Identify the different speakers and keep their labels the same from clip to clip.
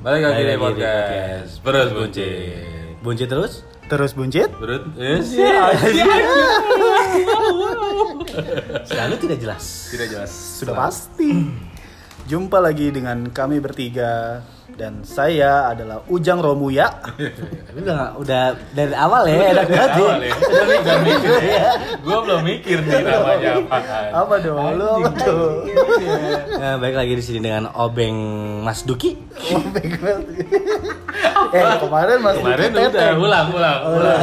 Speaker 1: Balik lagi di
Speaker 2: Balik lagi di
Speaker 1: podcast Berus Bunci
Speaker 2: Buncit terus?
Speaker 3: Terus buncit?
Speaker 1: Berut Tidak
Speaker 2: Selalu tidak jelas.
Speaker 1: jelas
Speaker 3: Sudah pasti.
Speaker 1: Hmm.
Speaker 3: Jumpa lagi dengan kami bertiga dan saya adalah Ujang Romuya.
Speaker 2: Ini udah udah dari awal ya, enak banget ya.
Speaker 1: Awal ya. Gue belum mikir nih namanya kan. apaan
Speaker 3: Apa dong? Lu apa dong?
Speaker 2: Nah, baik lagi di sini dengan Obeng Mas Duki.
Speaker 3: Oh, background. eh kemarin Mas
Speaker 1: Kemarin
Speaker 3: Duki
Speaker 1: udah ulang ulang ulang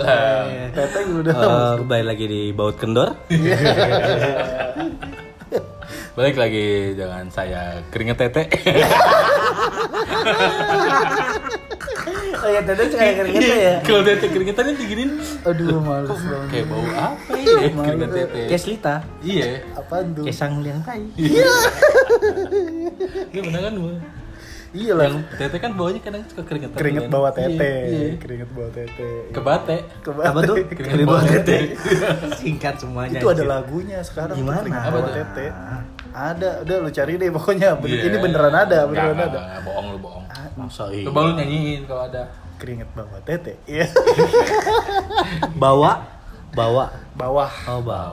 Speaker 1: Ulang
Speaker 3: Teteng udah.
Speaker 2: Eh, kembali lagi di Baut Kendor.
Speaker 1: Balik lagi dengan saya Keringet Tete
Speaker 3: Oh ya Teteng sekarang keringetnya ya.
Speaker 1: Kalau Tete keringetannya diginin
Speaker 3: Aduh males banget.
Speaker 1: Kayak bau apa ya keringet Tete
Speaker 2: Kayak Slita,
Speaker 1: Iya
Speaker 3: Apaan tuh?
Speaker 2: kayak Sang Liang Tai.
Speaker 1: Iya bener kan gua.
Speaker 3: Iya lah.
Speaker 1: Tete kan baunya kadang suka keringetan
Speaker 3: Keringet
Speaker 1: kan?
Speaker 3: bawah
Speaker 1: Iya, iya.
Speaker 3: tete. Keringet bawah tete.
Speaker 1: Kebate
Speaker 3: Kebate.
Speaker 2: Apa tuh?
Speaker 1: Keringet bawah tete.
Speaker 2: Singkat semuanya.
Speaker 3: Itu ada
Speaker 2: anjir.
Speaker 3: lagunya sekarang.
Speaker 2: Gimana?
Speaker 3: Keringet
Speaker 2: Apa
Speaker 3: Bawah
Speaker 1: tuh?
Speaker 3: Tete. Ada, udah lu cari deh pokoknya. Bener-
Speaker 1: Iya.
Speaker 3: Ini beneran ada, beneran
Speaker 1: Nggak,
Speaker 3: ada. Ah,
Speaker 1: nggak, Bohong lu bohong
Speaker 2: Masa iya?
Speaker 1: Coba lu nyanyiin kalau ada
Speaker 3: Keringet bawah tete. Iya.
Speaker 2: Bawa bawa
Speaker 3: Bawah.
Speaker 2: oh bawa.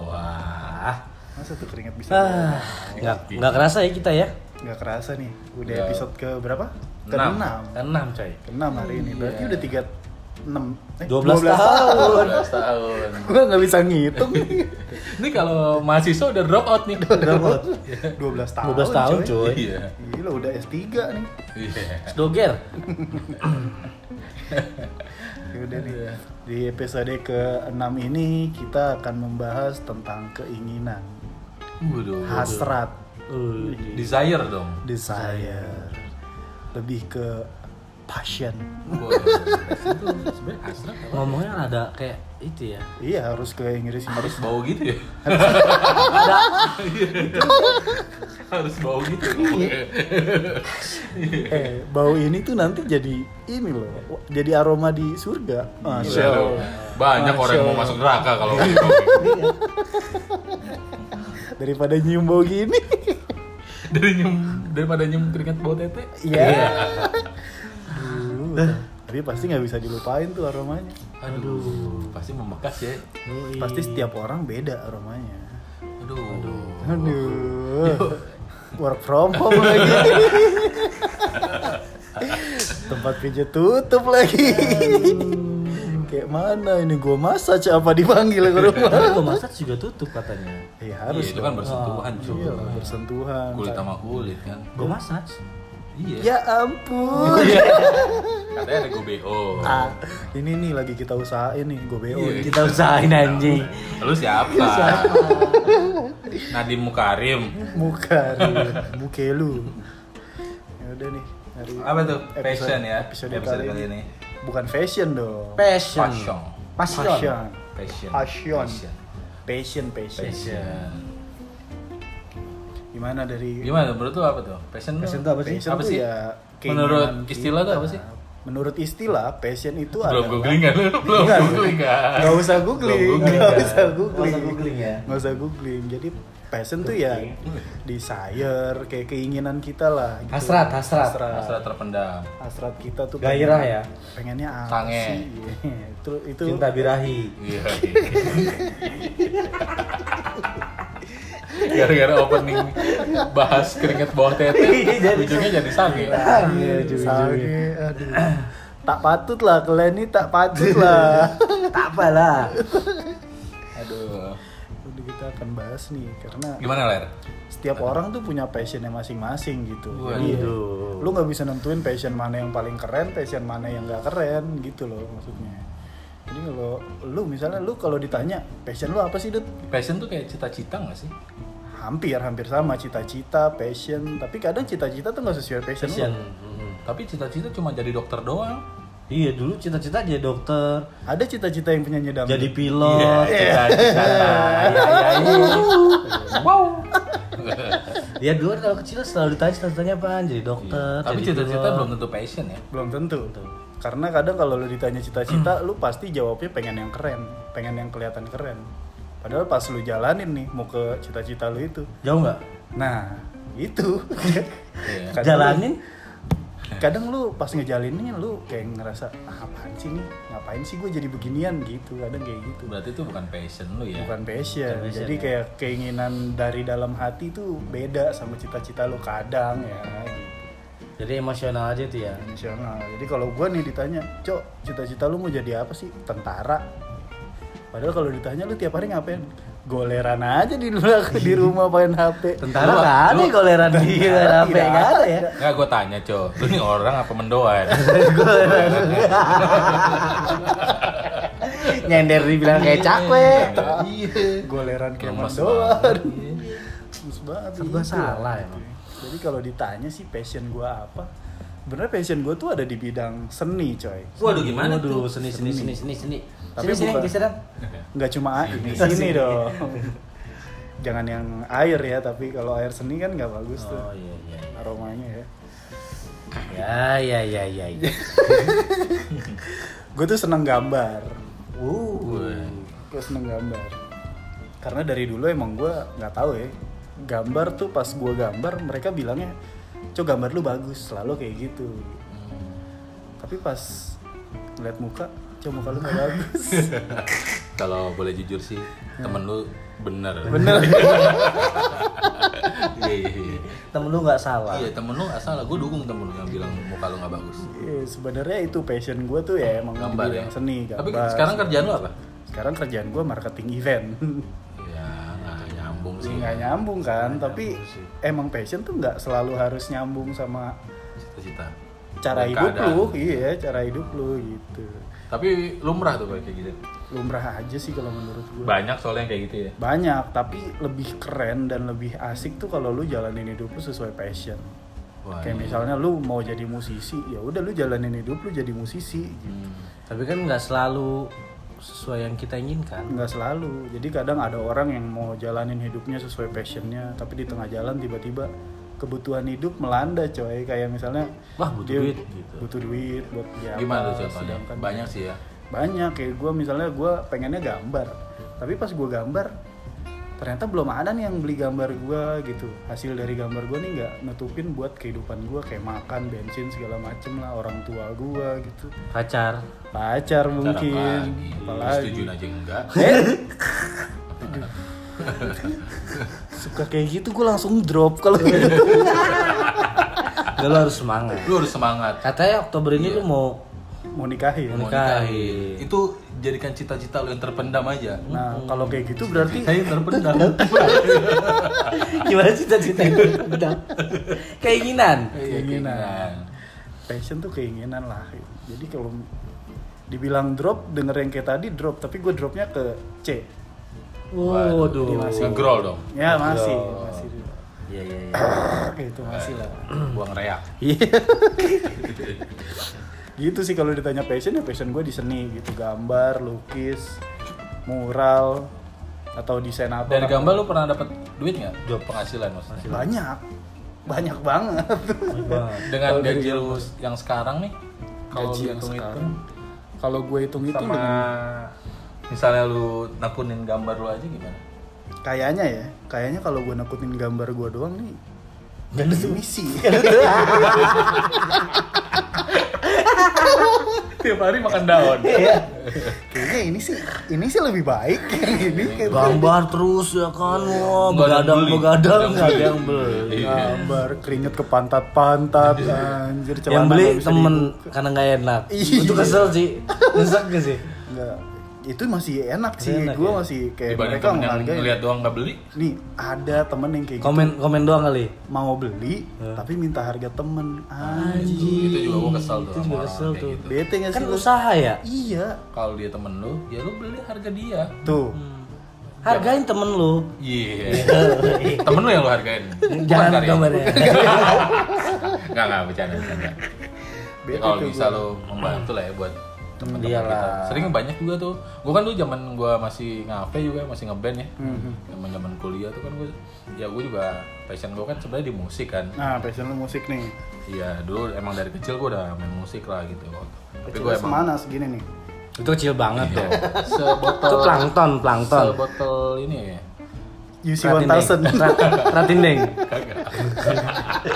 Speaker 1: Bawah
Speaker 3: Masa tuh keringet bisa?
Speaker 2: Ah, nggak
Speaker 3: Iya.
Speaker 2: nggak kerasa ya kita ya.
Speaker 3: Nggak kerasa nih. Udah
Speaker 1: Nggak.
Speaker 3: episode ke berapa? Ke
Speaker 1: Enam.
Speaker 3: 6.
Speaker 1: Enam coy
Speaker 3: Ke 6 hari ini. Berarti udah eh, 3 6
Speaker 2: 12 Iya. tahun.
Speaker 1: 12 tahun
Speaker 3: Gue nggak bisa ngitung.
Speaker 1: Ini kalau mahasiswa udah drop out nih
Speaker 2: Berapa?
Speaker 3: 12 tahun.
Speaker 2: 12 tahun, coy.
Speaker 1: Iya
Speaker 3: Gila udah S3 nih.
Speaker 1: Iya
Speaker 2: Doger.
Speaker 3: Yaudah Ya nih.
Speaker 2: Iya.
Speaker 3: Di episode ke-6 ini kita akan membahas tentang keinginan,
Speaker 1: Waduh
Speaker 3: hasrat,
Speaker 1: Desire dong
Speaker 3: desire, lebih ke passion.
Speaker 1: Waduh, itu sebenarnya hasrat apa?
Speaker 2: Ngomongnya ada kayak itu ya.
Speaker 3: Iya harus ke Inggris
Speaker 1: Harus
Speaker 3: Inggris.
Speaker 1: bau gitu ya Harus bau gitu
Speaker 3: eh bau ini tuh nanti jadi ini loh, Wah, jadi aroma di surga. Gitu. Masya
Speaker 1: Waduh,
Speaker 3: Allah.
Speaker 1: Banyak orang yang mau masuk neraka kalau gitu
Speaker 3: Daripada nyium bau gini.
Speaker 1: Dari nyium Daripada nyium keringat bau tete
Speaker 3: Iya. Dulu. Tapi pasti nggak bisa dilupain tuh aromanya.
Speaker 1: Aduh Pasti membekas ya
Speaker 3: Pasti setiap orang beda aromanya.
Speaker 1: Aduh Aduh
Speaker 3: Aduh. Work from home lagi. Tempat pijat tutup lagi. Kayak mana ini gua massage apa dipanggil ke rumah?
Speaker 2: Iya. Tapi gua masak juga tutup katanya.
Speaker 3: Iya harus
Speaker 1: Harus Itu kan
Speaker 3: dong.
Speaker 1: bersentuhan cuy
Speaker 3: Iya, bersentuhan.
Speaker 1: Kulit sama kulit kan
Speaker 2: Gua masak.
Speaker 1: Iya
Speaker 3: Ya ampun.
Speaker 1: Katanya ada gue BO
Speaker 3: Ah, ini nih lagi kita usahain nih, gue BO.
Speaker 1: Iya.
Speaker 2: Kita usahain anjing.
Speaker 1: Lu siapa? Nadiem Mukarim
Speaker 3: Muka lu, muke lu. Ya udah nih. Hari
Speaker 1: Apa tuh?
Speaker 3: episode-
Speaker 1: Fashion ya?
Speaker 3: Episode, kali, ini. Bukan fashion dong.
Speaker 2: Passion.
Speaker 1: Passion
Speaker 2: Passion.
Speaker 3: Passion.
Speaker 1: Passion
Speaker 3: Passion. Passion, passion.
Speaker 1: Passion
Speaker 3: Gimana dari
Speaker 1: Gimana menurut lu apa tuh? Passion,
Speaker 2: Passion tuh apa sih?
Speaker 3: passion
Speaker 1: Apa
Speaker 3: tuh
Speaker 1: sih?
Speaker 3: ya keinginan
Speaker 1: Menurut
Speaker 3: kita.
Speaker 1: istilah tuh apa sih?
Speaker 3: Menurut istilah, passion itu
Speaker 1: Belum
Speaker 3: adalah-
Speaker 1: googling kan? lu? Belum
Speaker 3: Enggak.
Speaker 1: googling kan?
Speaker 3: Gak usah googling,
Speaker 1: Belum googling,
Speaker 3: gak
Speaker 1: kan?
Speaker 3: usah
Speaker 2: Nggak usah
Speaker 3: googling,
Speaker 2: googling ya.
Speaker 3: Nggak usah googling. Jadi passion tuh ya desire, kayak keinginan kita lah. Gitu.
Speaker 2: Hasrat, hasrat.
Speaker 3: hasrat,
Speaker 1: Hasrat terpendam
Speaker 3: Hasrat kita tuh.
Speaker 2: Gairah
Speaker 3: pengen-
Speaker 2: ya?
Speaker 3: Pengennya apa
Speaker 1: Sange.
Speaker 3: sih? itu itu
Speaker 2: birahi.
Speaker 1: Iya Gara-gara opening bahas keringet bawah tete,
Speaker 2: Iya,
Speaker 1: ujungnya jadi sange.
Speaker 3: Sange, Iya, sange, aduh. tak patut lah kalian ini tak patut lah.
Speaker 2: tak apalah.
Speaker 1: Aduh.
Speaker 3: Udah kita akan bahas nih karena
Speaker 1: Gimana Ler?
Speaker 3: setiap orang tuh punya passionnya masing-masing gitu. Jadi,
Speaker 2: Waduh.
Speaker 3: lu nggak bisa nentuin passion mana yang paling keren, passion mana yang nggak keren gitu loh maksudnya. Jadi kalau lu misalnya lu kalau ditanya passion lu apa sih Dut?
Speaker 1: Passion tuh kayak cita-cita gak sih?
Speaker 3: Hampir hampir sama cita-cita, passion, tapi kadang cita-cita tuh nggak sesuai passion,
Speaker 2: Passion.
Speaker 3: lu.
Speaker 2: Mhm.
Speaker 1: Tapi cita-cita cuma jadi dokter doang.
Speaker 2: Iya dulu cita-cita jadi dokter,
Speaker 3: Ada cita-cita yang penyanyi dangdut.
Speaker 2: jadi pilot.
Speaker 1: Iya, cita-cita.
Speaker 2: Iya, iya, iya.
Speaker 1: Wow. Iya.
Speaker 2: Dia dulu kan kalau kecil selalu ditanya cita-citanya apaan, jadi dokter.
Speaker 1: Tapi
Speaker 2: jadi
Speaker 1: cita-cita
Speaker 2: pilot.
Speaker 1: belum tentu passion ya.
Speaker 3: belum tentu. Karena kadang kalau lu ditanya cita-cita,
Speaker 2: Hmm.
Speaker 3: lu pasti jawabnya pengen yang keren, pengen yang kelihatan keren. Padahal pas lu jalanin nih mau ke cita-cita lu itu,
Speaker 2: Jauh nggak?
Speaker 3: Nah, itu.
Speaker 1: Iya.
Speaker 3: Kadang-
Speaker 2: Jalanin?
Speaker 3: kadang lu pas ngejalinnya lu kayak ngerasa ah, apaan sih nih ngapain sih gue jadi beginian gitu kadang kayak gitu
Speaker 1: Berarti itu bukan passion lu ya?
Speaker 3: bukan passion,
Speaker 2: Bukan passion,
Speaker 3: jadi
Speaker 2: ya.
Speaker 3: kayak keinginan dari dalam hati tuh beda sama cita-cita lu kadang ya gitu.
Speaker 2: Jadi emosional aja tuh ya.
Speaker 3: Nasional. Jadi kalau gue nih ditanya, Cok, cita-cita lu mau jadi apa sih? Tentara. Padahal kalau ditanya lu tiap hari ngapain? Goleran aja di luar- di rumah main HP.
Speaker 2: Tentara
Speaker 1: Lu-
Speaker 2: kan? nggak ada
Speaker 1: lu-
Speaker 2: goleran di
Speaker 3: Tentara
Speaker 2: HP
Speaker 3: tidak
Speaker 2: nggak ada ya.
Speaker 1: Nggak, gue tanya, Cok. Lu nih orang apa mendoan?
Speaker 2: ya. Nyender dibilang kayak cakwe.
Speaker 1: Iya.
Speaker 3: Goleran kayak
Speaker 1: Lemes
Speaker 3: doang.
Speaker 1: banget.
Speaker 3: Lemes banget.
Speaker 2: Serba
Speaker 3: gitu.
Speaker 2: salah emang.
Speaker 3: Jadi kalau ditanya sih passion gue apa? Bener passion gue tuh ada di bidang seni, coy.
Speaker 2: Waduh gimana tuh? Seni seni seni seni seni.
Speaker 3: Tapi
Speaker 2: Sini sini
Speaker 3: bukan-
Speaker 2: geseran.
Speaker 3: nggak cuma air di sini dong. Jangan yang air ya, tapi kalau air seni kan nggak bagus tuh
Speaker 2: Oh iya iya.
Speaker 3: aromanya ya.
Speaker 2: Ya ya ya ya.
Speaker 3: Gue tuh seneng gambar,
Speaker 2: Uh.
Speaker 3: gue seneng gambar. Karena dari dulu emang gue nggak tahu ya, gambar tuh pas gue gambar mereka bilangnya, cok gambar lu bagus, selalu kayak gitu. Tapi pas ngeliat muka, cok muka lu nggak bagus.
Speaker 1: Kalau boleh jujur sih, temen lu bener.
Speaker 3: Bener.
Speaker 1: Iya, iya, iya.
Speaker 2: Temen lu nggak salah.
Speaker 1: Iya, temen lu asal lah. Gue dukung temen lu yang bilang muka lu nggak bagus.
Speaker 3: Iya, Sebenarnya itu passion gue tuh ya emang
Speaker 1: Gambar
Speaker 3: di
Speaker 1: ya.
Speaker 3: bidang seni gambar.
Speaker 1: Tapi sekarang kerjaan lu apa?
Speaker 3: sekarang kerjaan gue marketing event.
Speaker 1: Ya, nggak nyambung sih.
Speaker 3: nggak nyambung kan tapi emang passion tuh nggak selalu harus nyambung sama
Speaker 1: Cita-cita.
Speaker 3: cara
Speaker 1: Dan
Speaker 3: hidup
Speaker 1: keadaan.
Speaker 3: lu iya cara hidup lu gitu
Speaker 1: Tapi lumrah tuh kayak gitu.
Speaker 3: lumrah aja sih kalau menurut gue
Speaker 1: Banyak soalnya yang kayak gitu ya.
Speaker 3: banyak tapi lebih keren dan lebih asik tuh kalau lu jalanin hidup lu sesuai passion
Speaker 1: Wah,
Speaker 3: kayak
Speaker 1: iya.
Speaker 3: misalnya lu mau jadi musisi ya udah lu jalanin hidup lu jadi musisi gitu.
Speaker 1: Hmm.
Speaker 2: Tapi kan nggak selalu sesuai yang kita inginkan.
Speaker 3: nggak selalu jadi kadang ada orang yang mau jalanin hidupnya sesuai passionnya tapi di tengah jalan tiba-tiba kebutuhan hidup melanda coy kayak misalnya
Speaker 2: Wah, butuh duit, gitu.
Speaker 3: butuh duit buat beli apa, kan-
Speaker 1: Gimana tuh contohnya?
Speaker 3: sedangkan-
Speaker 1: Banyak sih ya.
Speaker 3: banyak kayak gue misalnya gue pengennya gambar tapi pas gue gambar ternyata belum ada nih yang beli gambar gue gitu hasil dari gambar gue nih nggak nutupin buat kehidupan gue kayak makan bensin segala macem lah orang tua gue gitu
Speaker 2: Pacar.
Speaker 3: pacar
Speaker 1: Ntar
Speaker 3: mungkin
Speaker 1: apalagi. Setujuin aja enggak.
Speaker 3: Eh? Aduh. suka kayak gitu gue langsung drop kalau gitu
Speaker 2: Nggak, lu harus semangat.
Speaker 1: Lu harus semangat.
Speaker 2: Katanya Oktober ini lu mau
Speaker 3: mau nikahin
Speaker 1: mau nikahin itu jadikan cita-cita lu yang terpendam aja
Speaker 3: nah kalau kayak gitu berarti
Speaker 1: saya terpendam
Speaker 2: gimana cita-cita itu? Udah. Keinginan.
Speaker 1: keinginan
Speaker 3: passion tuh keinginan lah jadi kalau dibilang drop denger yang kayak tadi drop tapi gue dropnya ke C
Speaker 2: Waduh.
Speaker 1: ngegrol dong
Speaker 3: ya masih
Speaker 1: Aduh.
Speaker 3: masih
Speaker 2: Iya iya iya.
Speaker 3: itu masih lah
Speaker 1: buang reak
Speaker 3: gitu sih kalau ditanya passion ya passion gue di seni gitu gambar lukis mural atau desain apa
Speaker 1: dari gambar lu pernah dapat duit nggak job penghasilan maksudnya
Speaker 3: banyak banyak banget
Speaker 1: dengan
Speaker 3: Kalau dari
Speaker 1: gaji lu yang sekarang nih kalau
Speaker 3: Gaji yang
Speaker 1: dihitung hitung
Speaker 3: sekarang. kalau gue hitung hitung
Speaker 1: sama misalnya lu nakunin gambar lu aja gimana
Speaker 3: kayaknya ya kayaknya kalau gue nakutin gambar gue doang nih gak ada misi
Speaker 1: tiap hari makan daun
Speaker 3: kayaknya ini sih ini sih lebih baik ini kayak
Speaker 2: Gambar terus ya kan, wah
Speaker 1: Nggak ada yang
Speaker 2: begadang
Speaker 1: beli.
Speaker 2: begadang
Speaker 1: Nggak
Speaker 2: nggak
Speaker 1: ada
Speaker 2: ada
Speaker 1: yang
Speaker 2: yang beli.
Speaker 1: Iya.
Speaker 3: gambar keringet ke pantat pantat anjir
Speaker 2: yang
Speaker 3: celana
Speaker 2: beli
Speaker 3: nggak bisa
Speaker 2: temen karena nggak enak.
Speaker 3: Iya.
Speaker 2: Itu kesel sih, nyesek gak sih?
Speaker 3: Enggak. Itu masih enak sih.
Speaker 2: Enak
Speaker 3: Gue
Speaker 2: ya?
Speaker 3: masih kayak
Speaker 1: dibanding
Speaker 3: mereka
Speaker 1: temen yang
Speaker 3: menghargai.
Speaker 1: ngeliat doang nggak beli
Speaker 3: Nih, ada temen yang kayak gitu.
Speaker 2: Komen komen doang kali.
Speaker 3: Mau beli,
Speaker 2: Hah?
Speaker 3: tapi minta harga temen.
Speaker 1: itu,
Speaker 3: Anjir.
Speaker 1: itu juga gua kesel tuh
Speaker 2: Itu juga
Speaker 1: sama orang
Speaker 2: kesel
Speaker 1: kayak
Speaker 2: tuh.
Speaker 1: gitu.
Speaker 3: Bete gak sih?
Speaker 2: Kan
Speaker 3: lu?
Speaker 2: usaha ya.
Speaker 3: Iya.
Speaker 1: kalau dia temen lu ya lu beli harga dia
Speaker 3: Tuh.
Speaker 1: Hmm.
Speaker 2: Hargain temen lu.
Speaker 1: Iya. Temen lu yang lu hargain.
Speaker 2: Jangan gambarnya.
Speaker 1: Enggak enggak bercanda bercanda. Ya,
Speaker 3: Bete
Speaker 1: kalau
Speaker 3: tuh
Speaker 1: bisa lu membantu lah ya buat temen-temen
Speaker 2: Iyalah.
Speaker 1: kita. Sering banyak juga tuh. Gua kan dulu zaman gua masih ngafe juga masih ngeband ya.
Speaker 3: Mhm.
Speaker 1: Zaman zaman kuliah tuh kan gua ya gua juga passion gua kan sebenarnya di musik kan.
Speaker 3: Nah, passion lu musik nih.
Speaker 1: Iya, dulu emang dari kecil gua udah main musik lah gitu. Tapi
Speaker 3: Kecil
Speaker 1: gua emang
Speaker 3: semana segini nih.
Speaker 2: Itu kecil banget
Speaker 1: Iya.
Speaker 2: tuh. Itu
Speaker 1: sebotol
Speaker 2: plankton, plankton.
Speaker 1: sebotol ini ya.
Speaker 3: UC
Speaker 2: Ratindeng.
Speaker 3: 1000.
Speaker 2: Rat- Ratindeng.
Speaker 1: Kagak.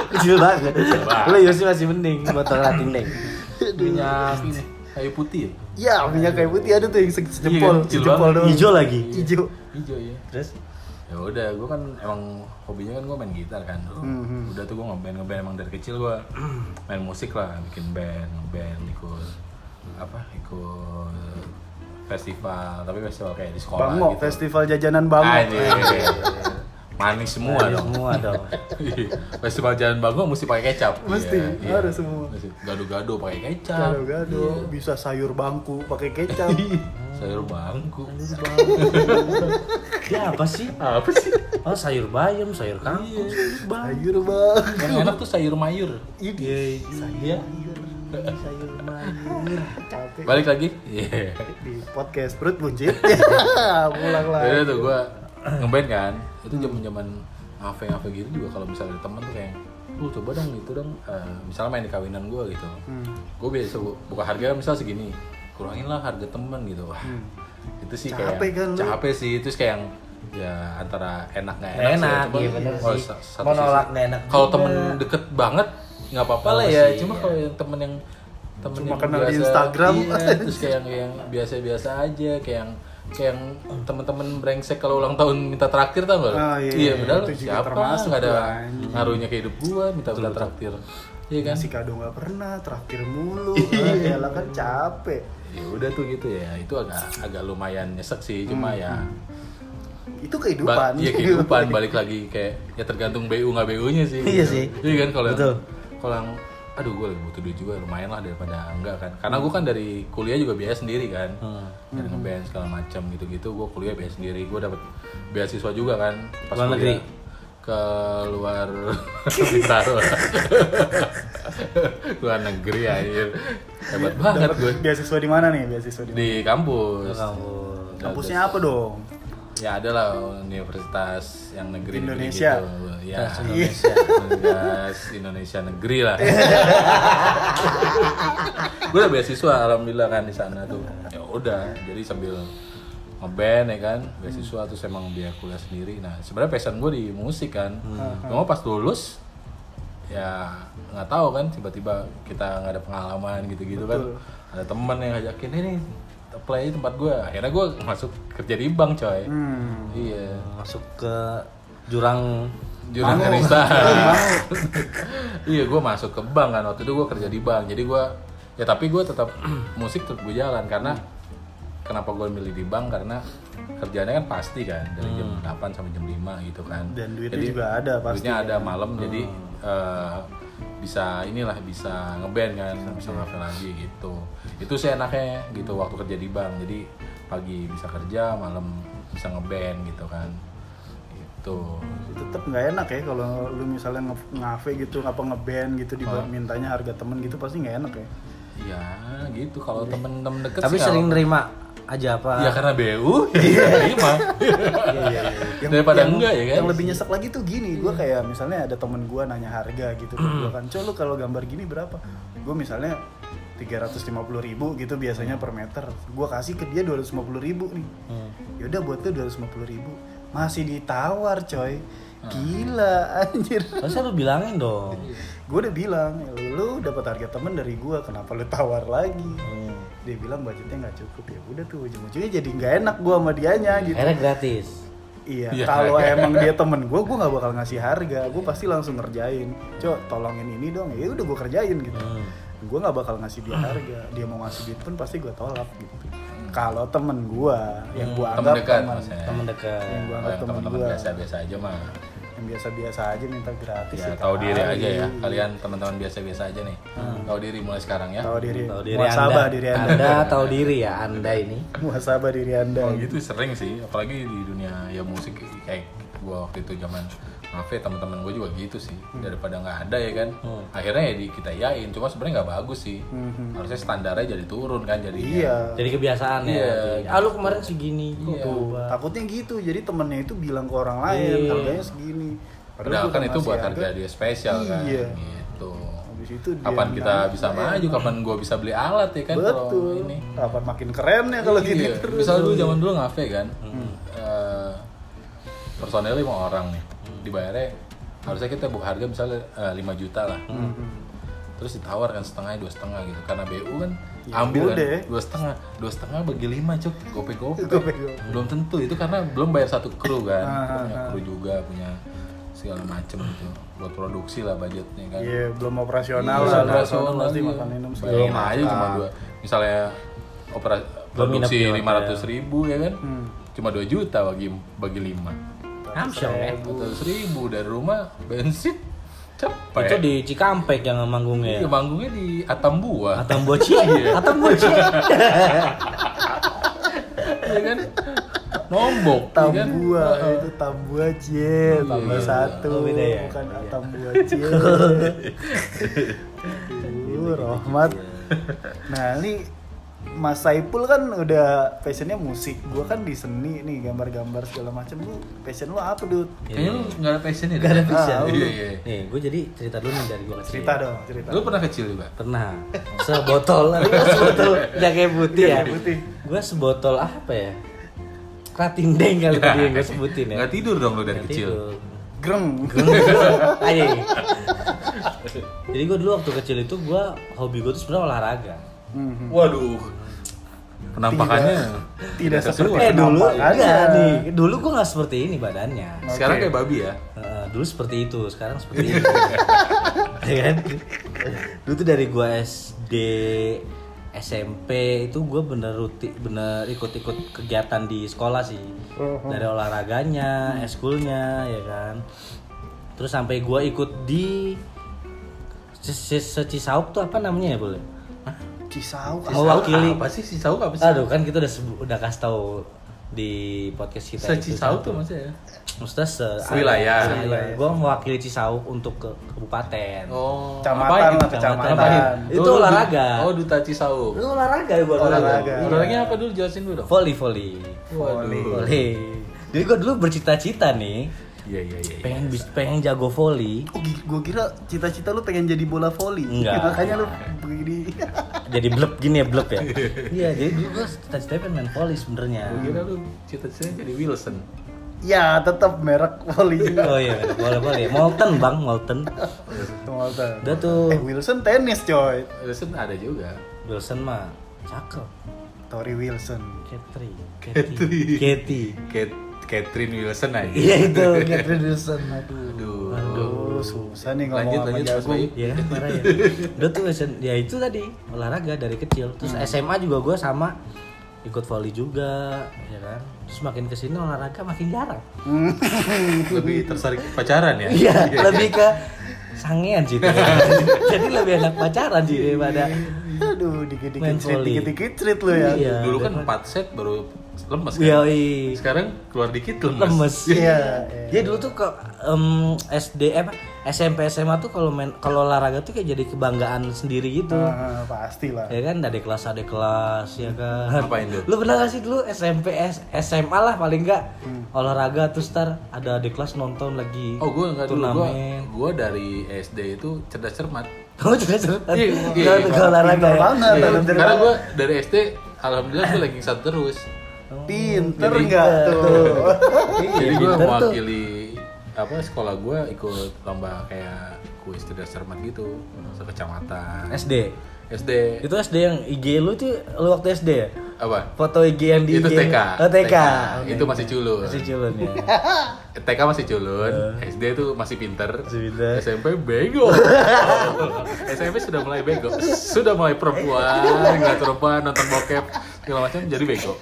Speaker 2: kecil banget
Speaker 1: banget.
Speaker 2: lo Yosi masih mending motor rating deng
Speaker 1: minyak ini kayu putih ya
Speaker 3: Ya, minyak kayu putih ada tuh yang se- sejempol,
Speaker 1: kecil Iya,
Speaker 3: sejempol
Speaker 1: kan? banget.
Speaker 3: doang.
Speaker 2: hijau lagi
Speaker 3: Hijau.
Speaker 1: hijau ya
Speaker 2: terus
Speaker 1: ya udah gue kan emang hobinya kan gue main gitar kan dulu
Speaker 3: Mhm.
Speaker 1: udah tuh gue ngeband ngeband emang dari kecil gue main musik lah bikin band ngeband ikut apa ikut festival tapi festival kayak di sekolah
Speaker 3: Bango,
Speaker 1: gitu Ah, iya.
Speaker 3: festival jajanan Bango.
Speaker 1: Anjir. manis semua
Speaker 2: Ada
Speaker 1: dong
Speaker 2: semua dong
Speaker 1: Iya. festival jalan Bango mesti pakai kecap Iya,
Speaker 3: Mesti, harus semua.
Speaker 1: Mesti. gado-gado pakai kecap Iya.
Speaker 3: Gado-gado, bisa sayur bangku pakai kecap.
Speaker 1: sayur bangku
Speaker 2: dia Ya, apa sih
Speaker 1: apa sih
Speaker 2: oh sayur bayam sayur kangkung
Speaker 3: sayur bang.
Speaker 1: yang enak tuh sayur mayur
Speaker 3: Ini
Speaker 2: Iya.
Speaker 3: sayur mayur. Capek
Speaker 1: balik lagi iya
Speaker 3: di podcast perut buncit. Ya, Pulang lah.
Speaker 1: Jadi tuh gue ngeband kan, itu zaman zaman ngafe ngafe gitu juga kalau misalnya ada temen tuh kayak, lu coba dong itu dong, eh, misalnya main di kawinan gue gitu,
Speaker 2: Hmm.
Speaker 1: gue biasa bu- buka harga misalnya segini, kurangin lah harga temen gitu, wah
Speaker 2: Hmm.
Speaker 1: itu sih kayak
Speaker 3: Capek kan lu?
Speaker 1: capek sih, terus kayak yang ya antara enak nggak
Speaker 2: Nggak
Speaker 1: enak,
Speaker 2: enak,
Speaker 1: cuman
Speaker 2: iya bener
Speaker 1: kalau
Speaker 2: sih.
Speaker 1: Oh, sa- satu
Speaker 2: Mau nolak
Speaker 1: sisi-
Speaker 2: nggak enak
Speaker 1: Kalau
Speaker 2: juga.
Speaker 1: temen deket banget nggak apa-apa
Speaker 2: Nggak
Speaker 1: lah
Speaker 2: apa
Speaker 1: ya,
Speaker 2: sih,
Speaker 1: cuma
Speaker 2: iya.
Speaker 1: kalau yang temen yang temen
Speaker 3: Cuma
Speaker 1: yang
Speaker 3: kenal di Instagram.
Speaker 1: iya, terus kayak yang yang biasa-biasa aja kayak yang kayak yang teman-teman brengsek kalau ulang tahun minta traktir tau gak? lo?
Speaker 3: Ah,
Speaker 1: iya,
Speaker 3: iya, iya,
Speaker 1: padahal
Speaker 3: itu juga
Speaker 1: siapa
Speaker 3: termasuk
Speaker 1: nggak ada
Speaker 3: tuh, anjing.
Speaker 1: ngaruhnya ke hidup gua minta minta traktir, iya kan?
Speaker 3: Si kado nggak pernah, traktir mulu.
Speaker 1: Iya.
Speaker 3: Ya lah kan capek.
Speaker 1: Ya udah tuh gitu ya, itu agak agak lumayan nyesek sih, cuma
Speaker 3: Hmm,
Speaker 1: ya
Speaker 3: Itu
Speaker 1: ba-
Speaker 3: kehidupan.
Speaker 1: iya kehidupan balik lagi kayak ya tergantung BU nggak BU-nya sih.
Speaker 2: Iya
Speaker 1: gitu.
Speaker 2: sih.
Speaker 1: Iya kan kalau yang-
Speaker 2: Betul.
Speaker 1: kalau yang aduh gue lagi butuh duit juga lumayan lah daripada enggak kan karena gue kan dari kuliah juga biaya sendiri kan
Speaker 2: Hmm.
Speaker 1: dari ngeband segala macam gitu-gitu gue kuliah biaya sendiri gue dapet beasiswa juga kan
Speaker 2: Luar
Speaker 1: kuliah
Speaker 2: negeri?
Speaker 1: ke luar Bintaro luar negeri akhir hebat banget gue
Speaker 3: Beasiswa di mana nih? Beasiswa di mana?
Speaker 1: di kampus Nah,
Speaker 2: kamu
Speaker 3: Kampusnya apa dong?
Speaker 1: ya ada lah universitas yang negeri
Speaker 3: Indonesia.
Speaker 1: gitu. ya
Speaker 2: Universitas
Speaker 1: Indonesia Universitas Indonesia negeri lah gue udah beasiswa alhamdulillah kan di sana tuh ya udah jadi sambil ngeband ya kan beasiswa terus emang biaya kuliah sendiri nah sebenarnya passion gue di musik kan
Speaker 3: Hmm.
Speaker 1: cuma pas lulus ya nggak tahu kan tiba-tiba kita nggak ada pengalaman gitu-gitu kan ada teman yang ngajakin ini play tempat gue akhirnya gue masuk kerja di bank coy
Speaker 3: Hmm.
Speaker 1: iya
Speaker 2: masuk ke jurang
Speaker 1: jurang barista iya gue masuk ke bank kan waktu itu gue kerja di bank jadi gue ya tapi gue tetap musik tetap gue jalan karena kenapa gue milih di bank karena kerjaannya kan pasti kan dari jam 8 sampai jam 5 gitu kan
Speaker 3: Hmm. Dan duitnya juga ada pasti kan. Hmm.
Speaker 1: duitnya ada malam jadi eh, bisa inilah bisa ngeband kan bisa ngapain lagi gitu itu sih enaknya gitu waktu kerja di bank jadi pagi bisa kerja malam bisa ngeband gitu kan gitu
Speaker 3: tetap nggak enak ya kalau lu misalnya nge- ngafe gitu apa ngeband gitu di mintanya harga temen gitu pasti nggak enak ya
Speaker 1: Ya gitu kalau
Speaker 3: Iya.
Speaker 1: temen-temen deket
Speaker 2: tapi
Speaker 1: sih kalau-
Speaker 2: sering nerima aja apa
Speaker 1: ya karena BU
Speaker 3: Iya,
Speaker 1: ya terima daripada enggak ya kan
Speaker 3: yang lebih nyesek lagi tuh gini gue kayak misalnya ada temen gue nanya harga gitu gue kan "Cok, lu kalau gambar gini berapa gue misalnya 350.000 ribu gitu biasanya per meter gue kasih ke dia 250.000 ribu nih yaudah buat tuh 250.000 ribu masih ditawar coy gila anjir
Speaker 2: harusnya lu bilangin dong
Speaker 3: gue udah bilang lu dapat harga temen dari gue kenapa lu tawar lagi
Speaker 1: Hmm.
Speaker 3: dia bilang budgetnya nggak cukup ya udah tuh ujung-ujungnya jadi nggak enak gue sama dianya gitu
Speaker 2: akhirnya gratis
Speaker 3: iya
Speaker 1: Iya.
Speaker 3: kalau emang dia temen gue gue nggak bakal ngasih harga gue pasti langsung ngerjain cok tolongin ini dong ya udah gue kerjain gitu
Speaker 1: Hmm.
Speaker 3: gue nggak bakal ngasih dia harga dia mau ngasih duit pun pasti gue tolak gitu kalau temen gue yang gue
Speaker 1: Hmm, Temen
Speaker 3: anggap
Speaker 1: dekat Iya.
Speaker 3: temen,
Speaker 1: maksudnya.
Speaker 2: temen dekat
Speaker 3: yang gue
Speaker 1: Kalau
Speaker 3: anggap
Speaker 1: yang
Speaker 3: temen
Speaker 1: teman-teman
Speaker 3: gue
Speaker 1: biasa-biasa aja mah
Speaker 3: yang biasa-biasa aja minta gratis
Speaker 1: ya
Speaker 3: ya
Speaker 1: tahu diri
Speaker 3: kali.
Speaker 1: aja ya kalian teman-teman biasa-biasa aja nih tahu diri mulai sekarang ya
Speaker 3: Hmm. tahu diri
Speaker 2: tahu diri
Speaker 3: muasabah
Speaker 2: anda
Speaker 3: diri
Speaker 2: anda.
Speaker 3: anda
Speaker 2: tahu diri ya anda ini
Speaker 3: muhasabah diri anda
Speaker 1: Kalau gitu sering sih, apalagi di dunia ya musik kayak gua waktu itu zaman kafe teman-teman gue juga gitu sih
Speaker 3: Hmm.
Speaker 1: daripada nggak ada ya kan akhirnya ya di kita yain cuma sebenarnya nggak bagus sih harusnya standarnya jadi turun kan jadi
Speaker 3: Hmm, iya
Speaker 2: jadi kebiasaan
Speaker 1: Iya.
Speaker 2: ya ah lu kemarin segini kok
Speaker 1: Iya.
Speaker 2: tuh
Speaker 3: takutnya gitu jadi temennya itu bilang ke orang lain
Speaker 2: Iya.
Speaker 3: harganya segini
Speaker 1: Padahal kan
Speaker 3: gua udah
Speaker 1: itu
Speaker 3: ngasih
Speaker 1: buat harga dia spesial kan.
Speaker 3: Iya.
Speaker 1: Gitu.
Speaker 3: habis itu dia
Speaker 1: Kapan kita
Speaker 3: nanya,
Speaker 1: bisa maju, kapan gua bisa beli alat ya kan kalau
Speaker 3: betul
Speaker 1: ini.
Speaker 3: kapan makin keren ya kalau gini
Speaker 1: Iya.
Speaker 3: terus Hmm.
Speaker 1: Misal dulu zaman dulu ngafe kan. eh, personelnya lima orang nih. Dibayarnya harusnya kita buka harga misalnya eh, 5 juta lah
Speaker 3: Hmm,
Speaker 1: terus ditawarkan setengahnya dua setengah gitu karena BU kan
Speaker 3: Ya,
Speaker 1: ambil kan
Speaker 3: udah.
Speaker 1: dua setengah dua setengah bagi lima cuk gope gope
Speaker 3: Gope-gope.
Speaker 1: belum tentu itu karena belum bayar satu kru kan
Speaker 3: Ah, ah,
Speaker 1: punya kru juga punya segala macem gitu buat produksi lah budgetnya kan
Speaker 3: Iya, belum operasional
Speaker 1: Iya,
Speaker 3: lah.
Speaker 1: operasional
Speaker 3: Operasional pasti
Speaker 1: iya.
Speaker 3: makan minum segala.
Speaker 1: Bayangin aja cuma dua. Misalnya opera, produksi
Speaker 2: nginep di
Speaker 1: lima ratus ribu ya kan,
Speaker 3: Hmm.
Speaker 1: cuma 2 juta bagi bagi lima.
Speaker 4: Hamsyong ya.
Speaker 1: Empat ribu dari rumah bensin cepet.
Speaker 2: Itu di Cikampek yang
Speaker 1: ya?
Speaker 2: manggungnya. ya?
Speaker 1: Iya, manggungnya di Atambua.
Speaker 2: Atambua Cie, Atambua Cie.
Speaker 1: Iya kan? Nombok. iya kan?
Speaker 3: Tambua, itu Tambua Cie, tambah
Speaker 1: iya.
Speaker 3: satu,
Speaker 2: Oh, beda ya?
Speaker 3: bukan Tambua Cie. Aduh, Rahmat. Nah, ini Mas Saipul kan udah passionnya musik, gua kan di seni nih, gambar-gambar segala macam. Lu passion lu apa, Dut?
Speaker 1: Kayaknya lu nggak ada passion ya?
Speaker 2: Gak ada
Speaker 1: Dan?
Speaker 2: passion.
Speaker 1: Ah, Iya, iya.
Speaker 2: Nih, gue jadi cerita dulu nih dari gue kecil.
Speaker 3: Cerita dong, cerita.
Speaker 1: Lu pernah kecil juga?
Speaker 2: Pernah. Sebotol, tapi gua sebotol jaga putih ya.
Speaker 3: Jaga putih.
Speaker 2: Gue sebotol apa ya? Kratin deng kali tadi yang gue sebutin ya.
Speaker 1: Nggak tidur dong lu dari kecil?
Speaker 3: Greng.
Speaker 2: Aja. Jadi gue dulu waktu kecil itu gue hobi gue tuh sebenarnya olahraga.
Speaker 3: Mhm.
Speaker 1: Waduh. Penampakannya
Speaker 3: Tidak- tidak seperti-
Speaker 2: Eh dulu
Speaker 3: Kenapa? Iya.
Speaker 2: enggak nih. Dulu gue nggak seperti ini badannya.
Speaker 1: Sekarang
Speaker 3: Oke.
Speaker 1: kayak babi ya?
Speaker 2: Eh, dulu seperti itu, sekarang seperti itu. ya kan? Dulu tuh dari gua SD, SMP itu gua bener rutin, bener ikut-ikut kegiatan di sekolah sih. Dari olahraganya, eskulnya, ya kan. Terus sampai gua ikut di Se- Se- Secisauk tuh apa namanya ya boleh?
Speaker 3: Cisau. ah.
Speaker 2: Mewakili.
Speaker 1: Apa sih Sisau apa sih?
Speaker 2: Aduh kan kita udah sebu- udah kasih tahu di podcast kita itu
Speaker 1: Secisau
Speaker 2: satu.
Speaker 1: tuh maksudnya? ya?
Speaker 2: Maksudnya se
Speaker 1: Sewilayah.
Speaker 2: Gue mewakili Cisauk untuk ke kabupaten.
Speaker 1: Oh,
Speaker 3: Kecamatan
Speaker 1: apain?
Speaker 3: lah, kecamatan.
Speaker 1: Apain?
Speaker 2: Itu
Speaker 1: Oh, du-
Speaker 2: olahraga.
Speaker 1: Oh, duta Cisau.
Speaker 2: Lu olahraga ya gua
Speaker 3: Olahraga.
Speaker 1: Olahraganya apa dulu jelasin dulu dong.
Speaker 2: Volley volley.
Speaker 1: Waduh.
Speaker 2: Volley. Jadi gue dulu bercita-cita nih
Speaker 1: Iya, iya, iya. iya.
Speaker 2: pengen bis- pengen jago volley
Speaker 3: Oh, gue kira cita-cita lu pengen jadi bola voli.
Speaker 2: Enggak.
Speaker 3: Makanya lu begini.
Speaker 2: jadi blep gini ya blep ya iya jadi dulu gue cita-cita pengen main volley sebenarnya
Speaker 1: Gua kira lu cita-citanya jadi Wilson.
Speaker 3: ya, tetap merek voli juga.
Speaker 2: oh iya boleh boleh Molten bang Molten
Speaker 3: Walter.
Speaker 2: udah tuh
Speaker 3: Eh, Wilson tenis coy.
Speaker 1: Wilson ada juga.
Speaker 2: Wilson mah cakep
Speaker 3: Tori Wilson.
Speaker 2: Ketri Ketri Ketri
Speaker 1: Kate, Catherine Wilson aja.
Speaker 2: iya itu Ketri
Speaker 3: Wilson, aduh.
Speaker 1: Aduh.
Speaker 3: Aduh, susah nih ngomong
Speaker 1: Lanjut,
Speaker 3: sama
Speaker 1: lanjut Mas
Speaker 3: jago.
Speaker 1: Bayu.
Speaker 2: Iya kan parah ya. Udah tuh SM ya itu tadi olahraga dari kecil. Terus SMA juga gue sama ikut volley juga, ya kan. Terus makin kesini olahraga makin jarang.
Speaker 1: Lebih tertarik pacaran ya?
Speaker 2: Iya, lebih ke sangean sih. itu. Jadi lebih enak pacaran sih daripada
Speaker 3: Aduh, dikit-dikit
Speaker 2: Main
Speaker 3: treat,
Speaker 2: volley.
Speaker 3: dikit-dikit treat lu ya.
Speaker 2: Iya.
Speaker 1: Dulu kan 4 set baru lemes kan.
Speaker 2: Yoi.
Speaker 1: Sekarang keluar dikit lemes.
Speaker 2: lemes.
Speaker 3: Iya,
Speaker 2: Dia dulu tuh ke em, SD apa SMP SMA tuh kalau main kalau olahraga tuh kayak jadi kebanggaan sendiri gitu.
Speaker 3: Ah, pasti lah.
Speaker 2: ya kan ada kelas ada kelas ya kan
Speaker 1: Ngapain tuh?
Speaker 2: lu pernah gak sih dulu SMP S- SMA lah paling enggak olahraga terus ntar ada adik kelas nonton lagi
Speaker 1: Hmm. Oh, gua enggak dulu. Gua,
Speaker 2: turnamen
Speaker 1: gua dari SD itu cerdas cermat.
Speaker 2: kamu juga sebentar
Speaker 1: Iya,
Speaker 2: Gua-
Speaker 1: iya,
Speaker 2: gua
Speaker 1: iya.
Speaker 2: olahraga
Speaker 3: Pintar
Speaker 2: ya
Speaker 3: banget,
Speaker 1: Iya,
Speaker 3: dalam cermat.
Speaker 1: Karena gue dari SD, alhamdulillah gue lagi satu terus.
Speaker 3: Pinter nggak tuh?
Speaker 1: Jadi gue
Speaker 2: pinter Iya, gitu. tuh.
Speaker 1: mewakili apa sekolah gue ikut lomba kayak kuis cerdas cermat gitu sekecamatan
Speaker 2: SD
Speaker 1: SD
Speaker 2: itu SD yang IG lu tuh lu waktu SD ya
Speaker 1: apa
Speaker 2: foto IG yang di
Speaker 1: itu
Speaker 2: IG
Speaker 1: TK
Speaker 2: oh, TK.
Speaker 1: itu Iya. masih culun
Speaker 2: masih culun ya
Speaker 1: TK masih culun SD itu masih pinter
Speaker 2: Eh. Masih pinter.
Speaker 1: SMP bego SMP sudah mulai bego sudah mulai perempuan ngeliat perempuan nonton bokep segala macam jadi bego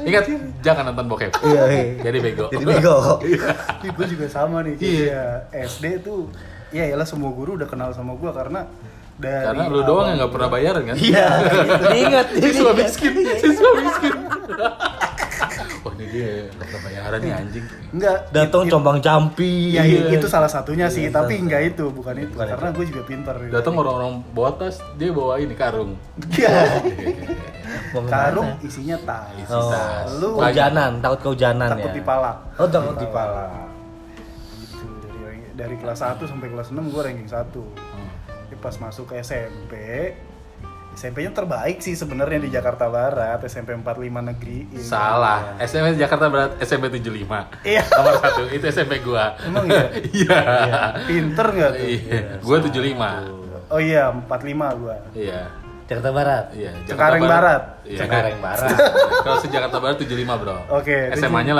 Speaker 1: ingat jangan nonton bokep
Speaker 2: iya iya.
Speaker 1: jadi bego
Speaker 2: jadi bego
Speaker 3: Ih, gue juga sama nih.
Speaker 1: Iya.
Speaker 3: Iya, SD tuh ya iyalah semua guru udah kenal sama gua karena dari
Speaker 1: Karena lu doang yang gak pernah bayaran kan?
Speaker 2: iya ingat
Speaker 1: Siswa miskin, siswa miskin. Wah ini dia gak pernah bayaran nih anjing.
Speaker 3: Enggak.
Speaker 2: datang combang campi
Speaker 3: Iya, itu salah satunya sih,
Speaker 2: Iya,
Speaker 3: tapi
Speaker 2: salah
Speaker 3: enggak itu, bukan itu. karena gue juga pinter.
Speaker 1: Datang orang-orang bawa tas, dia bawa ini karung.
Speaker 3: Iya.
Speaker 2: Mau kemana?
Speaker 3: Karung isinya tas.
Speaker 2: Oh,
Speaker 1: Tas.
Speaker 3: Lu
Speaker 2: kehujanan, takut kehujanan
Speaker 3: takut
Speaker 2: ya.
Speaker 3: dipalak.
Speaker 2: Oh, takut dipalak.
Speaker 3: Gitu. Dari, dari kelas 1 sampai kelas 6 gue ranking 1. Pas masuk ke SMP, SMP-nya terbaik sih sebenarnya di Jakarta Barat, SMP 45 Negeri.
Speaker 1: Salah. SMP Jakarta Barat SMP 75.
Speaker 3: Iya.
Speaker 1: Nomor satu itu SMP gua.
Speaker 3: Emang iya?
Speaker 1: Iya.
Speaker 3: Pinter nggak tuh?
Speaker 1: Iya. Gua 75.
Speaker 3: Oh iya, 45 gua.
Speaker 1: Iya.
Speaker 2: Jakarta Barat.
Speaker 1: Iya, Jakarta
Speaker 3: Cengkareng Barat.
Speaker 1: Iya.
Speaker 2: Cengkareng Barat.
Speaker 1: Kalau se Jakarta Barat 75, Bro.
Speaker 3: Oke, tujuh-
Speaker 1: SMA-nya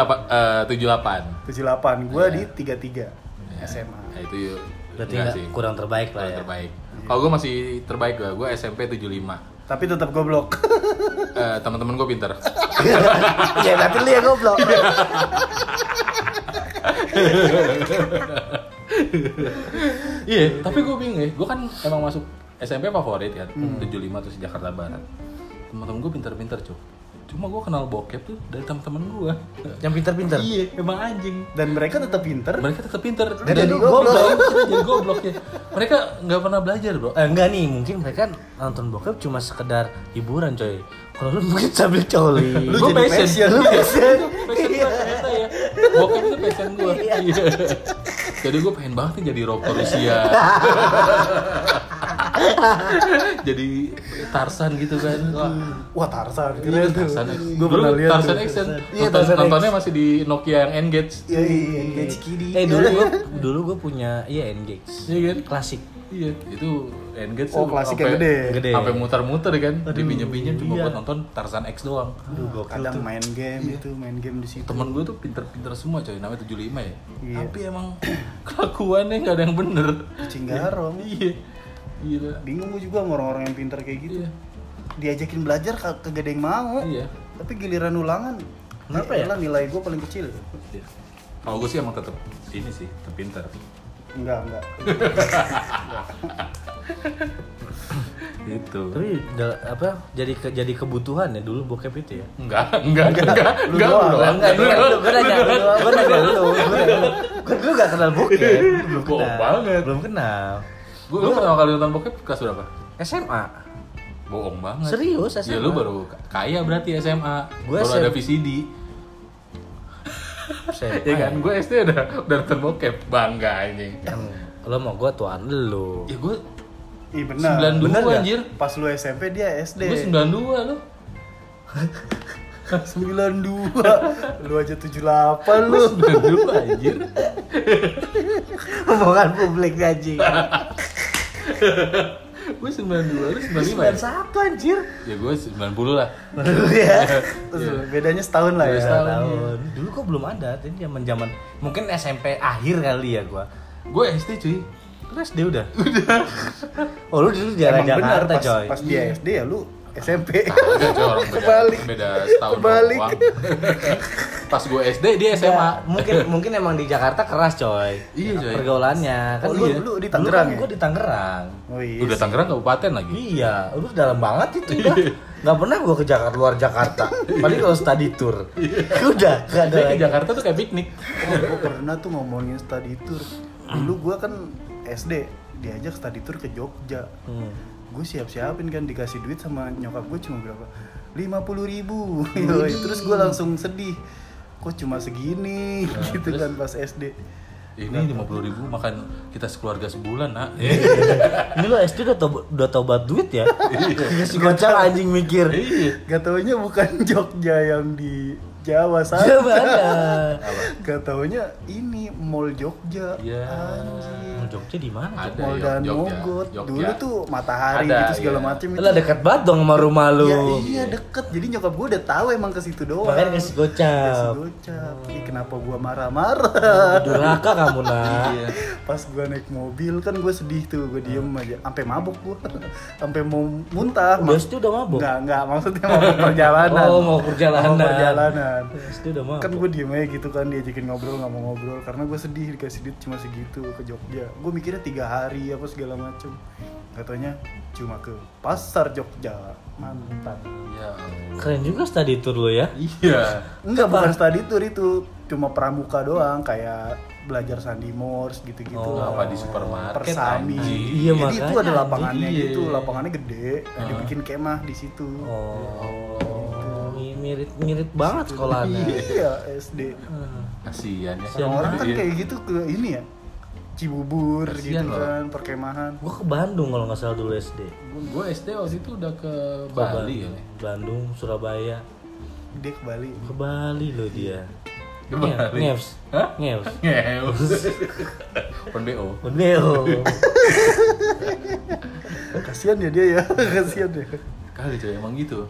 Speaker 1: eh, 78.
Speaker 3: 78, gua di 33 SMA.
Speaker 1: Nah, itu yuk.
Speaker 2: Berarti
Speaker 1: Enggak
Speaker 2: nggak- kurang terbaik lah
Speaker 1: Kurang
Speaker 2: ya.
Speaker 1: terbaik.
Speaker 3: Iya.
Speaker 1: Kalau gua masih terbaik gua, gua SMP 75.
Speaker 3: Tapi tetap goblok.
Speaker 1: Eh, teman-teman gua pinter.
Speaker 2: ya tapi lu yang goblok.
Speaker 1: Iya, tapi gue bingung ya. Gue kan emang masuk SMP favorit kan,
Speaker 2: Hmm.
Speaker 1: 75 terus Jakarta Barat. Teman-teman gue pinter-pinter cuy. Cuma gue kenal bokep tuh dari teman-teman gue.
Speaker 2: yang pintar-pintar.
Speaker 1: Iya, emang anjing.
Speaker 3: Dan mereka tetap pinter.
Speaker 1: Mereka tetap pinter.
Speaker 2: Dan jadi
Speaker 1: lu
Speaker 2: goblok.
Speaker 1: Kita jadi goblok ya. Mereka nggak pernah belajar bro.
Speaker 2: Eh, enggak nih, mungkin mereka nonton bokep cuma sekedar hiburan, coy. Kalau lu mungkin sambil coli.
Speaker 3: Lu
Speaker 1: Gua
Speaker 3: jadi passion.
Speaker 1: Lu
Speaker 3: Lu
Speaker 1: passion. passion
Speaker 2: Iya.
Speaker 1: gue ternyata ya. Bokep itu passion gue. Iya. Jadi gue pengen banget nih jadi rokok Rusia. jadi Tarsan gitu kan. Wah,
Speaker 3: Wah, Tarzan.
Speaker 1: Iya,
Speaker 3: Keren tuh.
Speaker 1: Tarzan X.
Speaker 3: Gua pernah
Speaker 1: Dulu
Speaker 3: lihat.
Speaker 1: Tarzan
Speaker 3: tuh.
Speaker 1: X kan?
Speaker 3: Iya,
Speaker 1: Nonton-
Speaker 3: Tarzan X.
Speaker 1: nontonnya masih di Nokia yang Engage.
Speaker 3: Iya, iya, iya. Kiri.
Speaker 2: eh dulu gua, dulu gua punya iya engage.
Speaker 1: Iya kan?
Speaker 2: Klasik.
Speaker 1: Iya, itu Engage
Speaker 3: Oh,
Speaker 1: tuh
Speaker 3: klasik
Speaker 1: sampai-
Speaker 3: yang gede. Iya.
Speaker 2: Gede.
Speaker 1: Sampai muter-muter kan, dipinjam-pinjam cuma buat nonton Tarzan X doang.
Speaker 3: Kadang main game itu, main game di situ.
Speaker 1: Temen gue tuh pinter-pinter semua coy, namanya 75 ya.
Speaker 3: Iya.
Speaker 1: Tapi emang kelakuannya nggak ada yang bener.
Speaker 3: Cinggarong.
Speaker 1: Iya. Gila.
Speaker 3: Bingung gua juga sama orang-orang yang pinter kayak gitu.
Speaker 1: Iya.
Speaker 3: Diajakin belajar ka- kagak ada yang mau.
Speaker 1: Iya.
Speaker 3: Tapi giliran ulangan,
Speaker 2: Kenapa
Speaker 3: eh,
Speaker 2: ya?
Speaker 3: elah, nilai gua paling kecil.
Speaker 1: Iya. Kalau gue sih emang tetep ini sih, tetep pinter.
Speaker 3: Enggak, enggak.
Speaker 1: Gitu.
Speaker 2: Tapi da- apa jadi ke, jadi kebutuhan ya dulu bokep itu ya.
Speaker 1: Enggak, enggak, enggak,
Speaker 3: Lu
Speaker 1: enggak,
Speaker 3: doang,
Speaker 1: enggak,
Speaker 2: Enggak, enggak, enggak, gue nanya, gue nanya lu, gue nanya lu. Gue gue gak kenal
Speaker 3: Iya,
Speaker 2: bokep, belum
Speaker 1: Bohong
Speaker 2: kenal,
Speaker 1: banget.
Speaker 2: belum kenal.
Speaker 1: Gue lu pertama kali nonton bokep kelas berapa?
Speaker 2: SMA,
Speaker 1: Bohong banget.
Speaker 2: Serius,
Speaker 1: SMA? Ya
Speaker 2: SMA?
Speaker 1: lu baru k- kaya berarti SMA.
Speaker 2: Gua
Speaker 1: baru
Speaker 2: SM.
Speaker 1: ada VCD.
Speaker 2: SMA.
Speaker 1: Ya kan, gue SD udah udah nonton bokep. Bangga anjing.
Speaker 2: Lo mau gue tuan lu.
Speaker 1: Ya gue
Speaker 3: Iya benar.
Speaker 1: 92
Speaker 3: Benar nggak?
Speaker 1: anjir.
Speaker 3: Pas lu SMP dia SD.
Speaker 1: Gue 92 lu.
Speaker 3: 92. lu aja 78 lu.
Speaker 1: 92 anjir.
Speaker 2: Omongan publik gaji.
Speaker 1: Gue 92, lu 95 ya?
Speaker 2: 91 anjir.
Speaker 1: Ya gue 90 lah.
Speaker 3: Lu ya. Bedanya setahun lah ya.
Speaker 1: Setahun.
Speaker 2: Tahun. Dulu kok belum ada, jadi zaman zaman mungkin SMP akhir kali ya gue.
Speaker 1: Gue SD cuy.
Speaker 2: Terus dia udah. Oh lu dulu jarang
Speaker 3: Emang benar
Speaker 2: Jakarta
Speaker 3: pas,
Speaker 2: coy.
Speaker 3: pas dia SD ya lu SMP.
Speaker 1: Enggak cuy orang beda,
Speaker 3: Kebalik.
Speaker 1: beda setahun
Speaker 3: Kebalik.
Speaker 1: doang. Pas gue SD dia SMA.
Speaker 3: Iya.
Speaker 2: Ya, mungkin mungkin emang di Jakarta keras coy.
Speaker 1: Iya, coy.
Speaker 2: Pergaulannya. Kan
Speaker 3: Oh,
Speaker 2: lu,
Speaker 3: lu- lu di Tangerang ya?
Speaker 2: Gue di Tangerang.
Speaker 3: Oh iya.
Speaker 1: Udah Tangerang kabupaten lagi.
Speaker 2: Iya, lu dalam banget itu udah. Gak pernah gua ke Jakarta luar Jakarta. Paling kalau study tour. udah, gak ada
Speaker 1: Dia ke
Speaker 2: lagi.
Speaker 1: Jakarta tuh kayak piknik.
Speaker 3: Oh, gua pernah tuh ngomongin study tour. Dulu gua kan SD diajak study tour ke Jogja.
Speaker 2: Hmm.
Speaker 3: Gue siap-siapin kan dikasih duit sama nyokap gue cuma berapa? 50.000 ribu. Terus gue langsung sedih. Kok cuma segini gitu kan pas SD.
Speaker 1: Ini 50 ribu makan kita sekeluarga sebulan nak.
Speaker 2: Ini lo SD udah tobat, udah tobat duit ya? Si gocang anjing mikir.
Speaker 1: Iya.
Speaker 3: Gak taunya bukan Jogja yang di Jawa
Speaker 2: Ya
Speaker 3: sana.
Speaker 2: mana?
Speaker 3: Gak taunya ini Mall Jogja.
Speaker 1: Iya.
Speaker 3: Anjing.
Speaker 2: Mau Jogja di mana?
Speaker 1: Ada
Speaker 3: Mall
Speaker 1: ya,
Speaker 3: dan
Speaker 1: Jogja,
Speaker 3: Mogot.
Speaker 1: Jogja.
Speaker 3: Dulu tuh matahari
Speaker 1: Ada,
Speaker 3: gitu segala
Speaker 1: iya.
Speaker 3: macem
Speaker 2: Lah dekat banget dong sama rumah lu.
Speaker 3: Ya, iya deket. Jadi nyokap gue udah tahu emang ke situ doang.
Speaker 2: Makanya kasih
Speaker 3: Kasih
Speaker 2: gocap.
Speaker 3: gocap. Ih, kenapa gue marah-marah?
Speaker 2: Durhaka kamu nak.
Speaker 1: Iya.
Speaker 3: Pas gue naik mobil kan gue sedih tuh, gue diem aja, sampai mabuk gue, sampai mau muntah.
Speaker 2: Hmm. Udah SD udah mabok.
Speaker 3: Enggak, enggak, maksudnya mabuk perjalanan.
Speaker 2: Oh, mabuk perjalanan. Iya.
Speaker 3: Mabuk perjalanan.
Speaker 2: SD udah mabok.
Speaker 3: Kan gue diem aja gitu kan, diajakin ngobrol, nggak mau ngobrol. Karena gue sedih dikasih duit cuma segitu ke Jogja. Gue mikirnya tiga hari apa segala macem. Katanya cuma ke pasar Jogja, mantan.
Speaker 1: Ya. Allah.
Speaker 2: Keren juga study tour lo ya.
Speaker 1: Iya.
Speaker 3: Enggak, bukan study tour itu. Cuma pramuka doang, kayak belajar sandi morse gitu-gitu.
Speaker 2: Oh,
Speaker 3: lah.
Speaker 1: Apa di supermarket?
Speaker 3: Persami.
Speaker 1: anjing?
Speaker 2: Iya,
Speaker 3: Jadi itu
Speaker 2: makanya,
Speaker 3: ada lapangannya
Speaker 1: anjing.
Speaker 3: gitu, lapangannya gede, nah, dibikin kemah di situ.
Speaker 2: Oh, mirip-mirip banget sekolahannya.
Speaker 3: Iya, SD.
Speaker 1: Kasian ya.
Speaker 2: Yang
Speaker 3: Orang-orang kan
Speaker 1: Iya.
Speaker 3: kayak gitu ke ini ya. Cibubur
Speaker 1: Kasian
Speaker 3: gitu
Speaker 1: loh.
Speaker 3: kan, perkemahan.
Speaker 2: Gue ke Bandung kalau nggak salah dulu SD.
Speaker 1: Gue SD waktu itu udah ke
Speaker 2: Ke
Speaker 1: Bali ya.
Speaker 2: Bandung, Bandung, Surabaya,
Speaker 3: Dia ke Bali.
Speaker 2: ke Bali loh dia. Iya,
Speaker 1: Ke Bali.
Speaker 2: Ngeus,
Speaker 1: Hah?
Speaker 2: ngeus,
Speaker 1: Ngeus. Pendeo.
Speaker 2: Ngeus.
Speaker 3: Kasihan ya dia ya, kasihan ya.
Speaker 1: Kali coy emang gitu.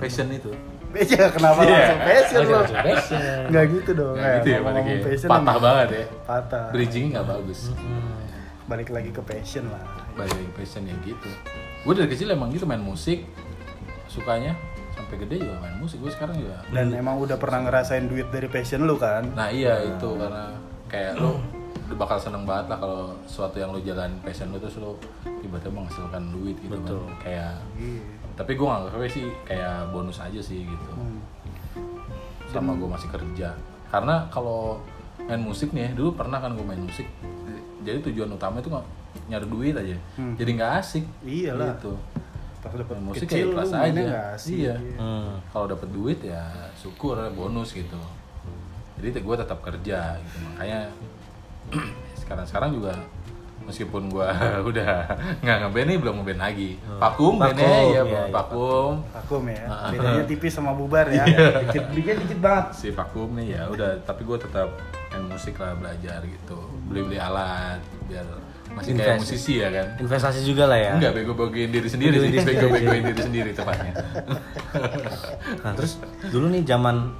Speaker 1: Passion itu.
Speaker 3: Ya kenapa
Speaker 1: Iya.
Speaker 3: langsung passion
Speaker 2: Langsung
Speaker 3: lo?
Speaker 2: langsung passion.
Speaker 3: Nggak gitu dong.
Speaker 1: Nah, gitu ya
Speaker 3: ngomong-
Speaker 1: balik
Speaker 3: ngomong
Speaker 1: ya.
Speaker 3: passion
Speaker 1: Patah
Speaker 3: emang
Speaker 1: banget ya.
Speaker 3: Patah.
Speaker 1: Bridging nggak bagus.
Speaker 3: Balik lagi ke passion lah.
Speaker 1: Balik lagi passion ya gitu. Gue dari kecil emang gitu main musik. Sukanya sampai gede juga main musik. Gue sekarang juga
Speaker 3: Dan emang udah pernah ngerasain duit dari passion lu kan?
Speaker 1: Nah iya itu karena kayak lo udah bakal seneng banget lah kalau sesuatu yang lo jalanin passion lo terus lo tiba-tiba menghasilkan duit gitu kan.
Speaker 2: Betul.
Speaker 1: kayak
Speaker 3: Iya.
Speaker 1: tapi gue nganggapnya sih kayak bonus aja sih gitu
Speaker 3: Hmm.
Speaker 1: selama gue masih kerja karena kalau main musik nih ya, dulu pernah kan gue main musik jadi tujuan utama itu nggak nyari duit aja
Speaker 3: Hmm.
Speaker 1: jadi nggak asik
Speaker 3: Iyalah.
Speaker 1: gitu
Speaker 3: Pas dapet
Speaker 1: main musik
Speaker 3: kecil
Speaker 1: kayak
Speaker 3: lu
Speaker 1: ikhlas
Speaker 3: mainnya
Speaker 1: aja
Speaker 3: nggak asik.
Speaker 1: iya
Speaker 2: Hmm.
Speaker 1: kalau dapat duit ya syukur bonus gitu jadi gue tetap kerja gitu makanya sekarang sekarang juga meskipun gue udah nggak ngeband nih belum ngeband lagi vakum
Speaker 2: Oh. Vakum,
Speaker 1: bandnya ya,
Speaker 2: iya, iya,
Speaker 1: vakum
Speaker 3: Vakum ya,
Speaker 1: Ah.
Speaker 3: bedanya tipis sama bubar ya.
Speaker 1: Iya.
Speaker 3: Dikit, dikit, dikit banget.
Speaker 1: si vakum nih ya udah tapi gue tetap main musik lah belajar gitu beli beli alat biar masih kayak
Speaker 2: Invest.
Speaker 1: musisi ya kan
Speaker 2: Investasi juga lah ya.
Speaker 1: Enggak, bego-begoin diri sendiri sih,
Speaker 2: Bego-begoin diri
Speaker 1: bego-begoin diri sendiri tepatnya
Speaker 2: Nah terus dulu nih zaman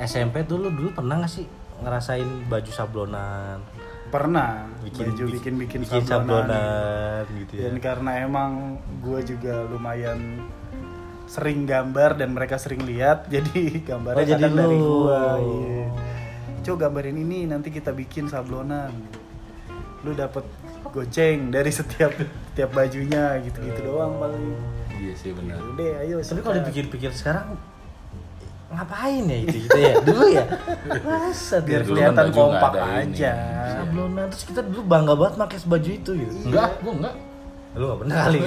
Speaker 2: SMP tuh lu dulu pernah nggak sih ngerasain baju sablonan?
Speaker 3: Pernah baju bikin-bikin
Speaker 2: bikin sablonan, gitu ya.
Speaker 3: Dan karena emang gue juga lumayan sering gambar dan mereka sering lihat, jadi gambarnya
Speaker 2: Oh, jadi
Speaker 3: kadang dari
Speaker 2: lu.
Speaker 3: gue. Iya. Coba gambarin ini nanti kita bikin sablonan. Lu dapet goceng dari setiap setiap bajunya gitu-gitu doang paling. Ya
Speaker 1: Iya sih benar.
Speaker 3: Udah, ayo.
Speaker 2: Oh. Tapi
Speaker 3: sikat.
Speaker 2: kalau dipikir-pikir sekarang ngapain ya itu gitu ya dulu ya masa
Speaker 1: Dulu
Speaker 3: biar
Speaker 1: kan
Speaker 3: kelihatan
Speaker 1: baju nggak
Speaker 3: kompak
Speaker 1: ada ini.
Speaker 3: aja.
Speaker 2: sablonan terus kita dulu bangga banget pakai baju itu gitu
Speaker 1: Enggak, gue enggak.
Speaker 2: lu nggak pernah kali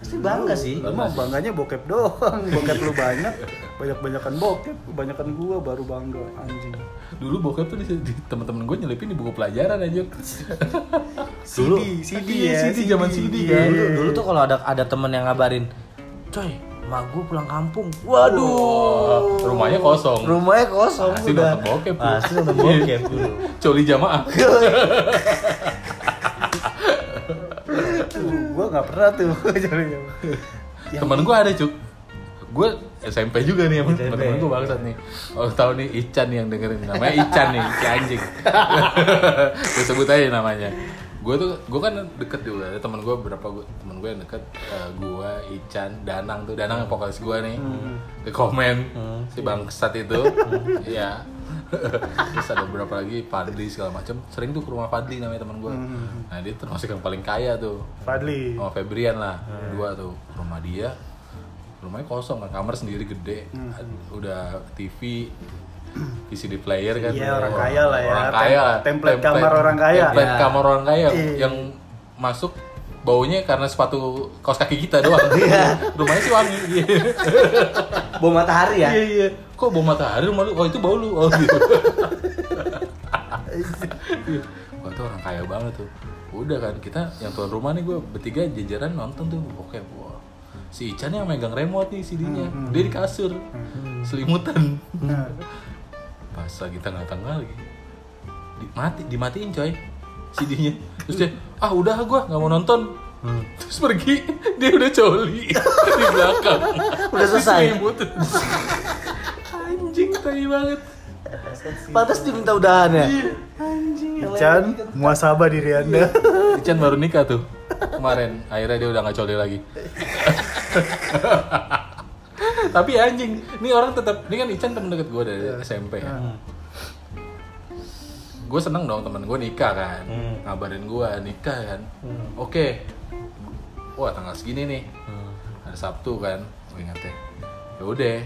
Speaker 2: pasti bangga sih
Speaker 3: Lu mah bangganya bokep doang, bokep lu banyak, banyak-banyakan bokep, kebanyakan gua baru bangga anjing.
Speaker 1: Dulu bokep tuh di, di teman-teman gue nyelipin di buku pelajaran aja.
Speaker 2: Dulu.
Speaker 3: CD, CD
Speaker 1: Iya,
Speaker 3: ya,
Speaker 1: CD, zaman CD kan.
Speaker 3: ya.
Speaker 2: dulu, dulu tuh kalau ada ada temen yang ngabarin coy mak gue pulang kampung waduh
Speaker 1: Wah, rumahnya kosong.
Speaker 2: rumahnya kosong
Speaker 1: Pasti
Speaker 2: udah
Speaker 1: nonton bokep lu.
Speaker 2: pasti nonton bokep dulu
Speaker 1: Coli jamaah.
Speaker 3: Tuh, gua nggak pernah tuh. Jadi, yang
Speaker 1: Temen gue ada cuk. Gue SMP juga nih sama
Speaker 2: SMP.
Speaker 1: temen gue bangsat nih. Oh tahu nih Ican yang dengerin namanya Ican nih, si anjing. gue sebut aja namanya. Gue tuh gue kan deket juga ada temen gue berapa gue temen gue yang deket eh, gue Ican Danang tuh Danang yang vokalis gue nih di komen si bangsat itu iya terus ada beberapa lagi Fadli segala macam sering tuh ke rumah Fadli namanya temen gue nah dia termasuk yang paling kaya tuh
Speaker 3: Fadli.
Speaker 1: sama Oh, Febrian lah
Speaker 3: Iya.
Speaker 1: dua tuh rumah dia rumahnya kosong kan kamar sendiri gede
Speaker 3: Hmm.
Speaker 1: udah TV VCD player kan
Speaker 3: Iya, orang
Speaker 1: Wah,
Speaker 3: kaya lah ya.
Speaker 1: orang kaya lah.
Speaker 3: Template kamar orang kaya.
Speaker 1: template
Speaker 2: Iya.
Speaker 1: kamar orang kaya
Speaker 3: Iya.
Speaker 1: yang masuk baunya karena sepatu kaos kaki kita doang
Speaker 3: Iya.
Speaker 1: rumahnya sih wangi iya
Speaker 2: bom matahari ya
Speaker 1: iya iya kok bau matahari rumah lu oh itu bau lu oh gitu Iya. Wah tuh orang kaya banget tuh Udah kan kita yang tuan rumah nih gue bertiga jajaran nonton tuh Oke wah Si Ican yang megang remote nih CD-nya
Speaker 2: Hmm,
Speaker 1: Dia di kasur Selimutan
Speaker 3: Nah,
Speaker 1: Pas lagi tengah-tengah lagi di, mati, Dimatiin coy CD-nya Terus dia ah udah gue gak mau nonton
Speaker 2: Hmm.
Speaker 1: Terus pergi Dia udah coli Di belakang
Speaker 2: Udah selesai.
Speaker 1: Diselimutin. Anjing tai banget
Speaker 2: pantas diminta udahan ya
Speaker 3: Ican, muasabah diri Anda.
Speaker 1: Ican baru nikah tuh kemarin. Akhirnya dia udah nggak coli lagi. Tapi anjing, ini orang tetap, ini kan Ican temen deket gue dari SMP ya. Gue seneng dong temen gue nikah kan, ngabarin gue nikah kan. Oke, wah tanggal segini nih,
Speaker 3: Hmm.
Speaker 1: hari Sabtu kan, gue ingetnya. Ya udah,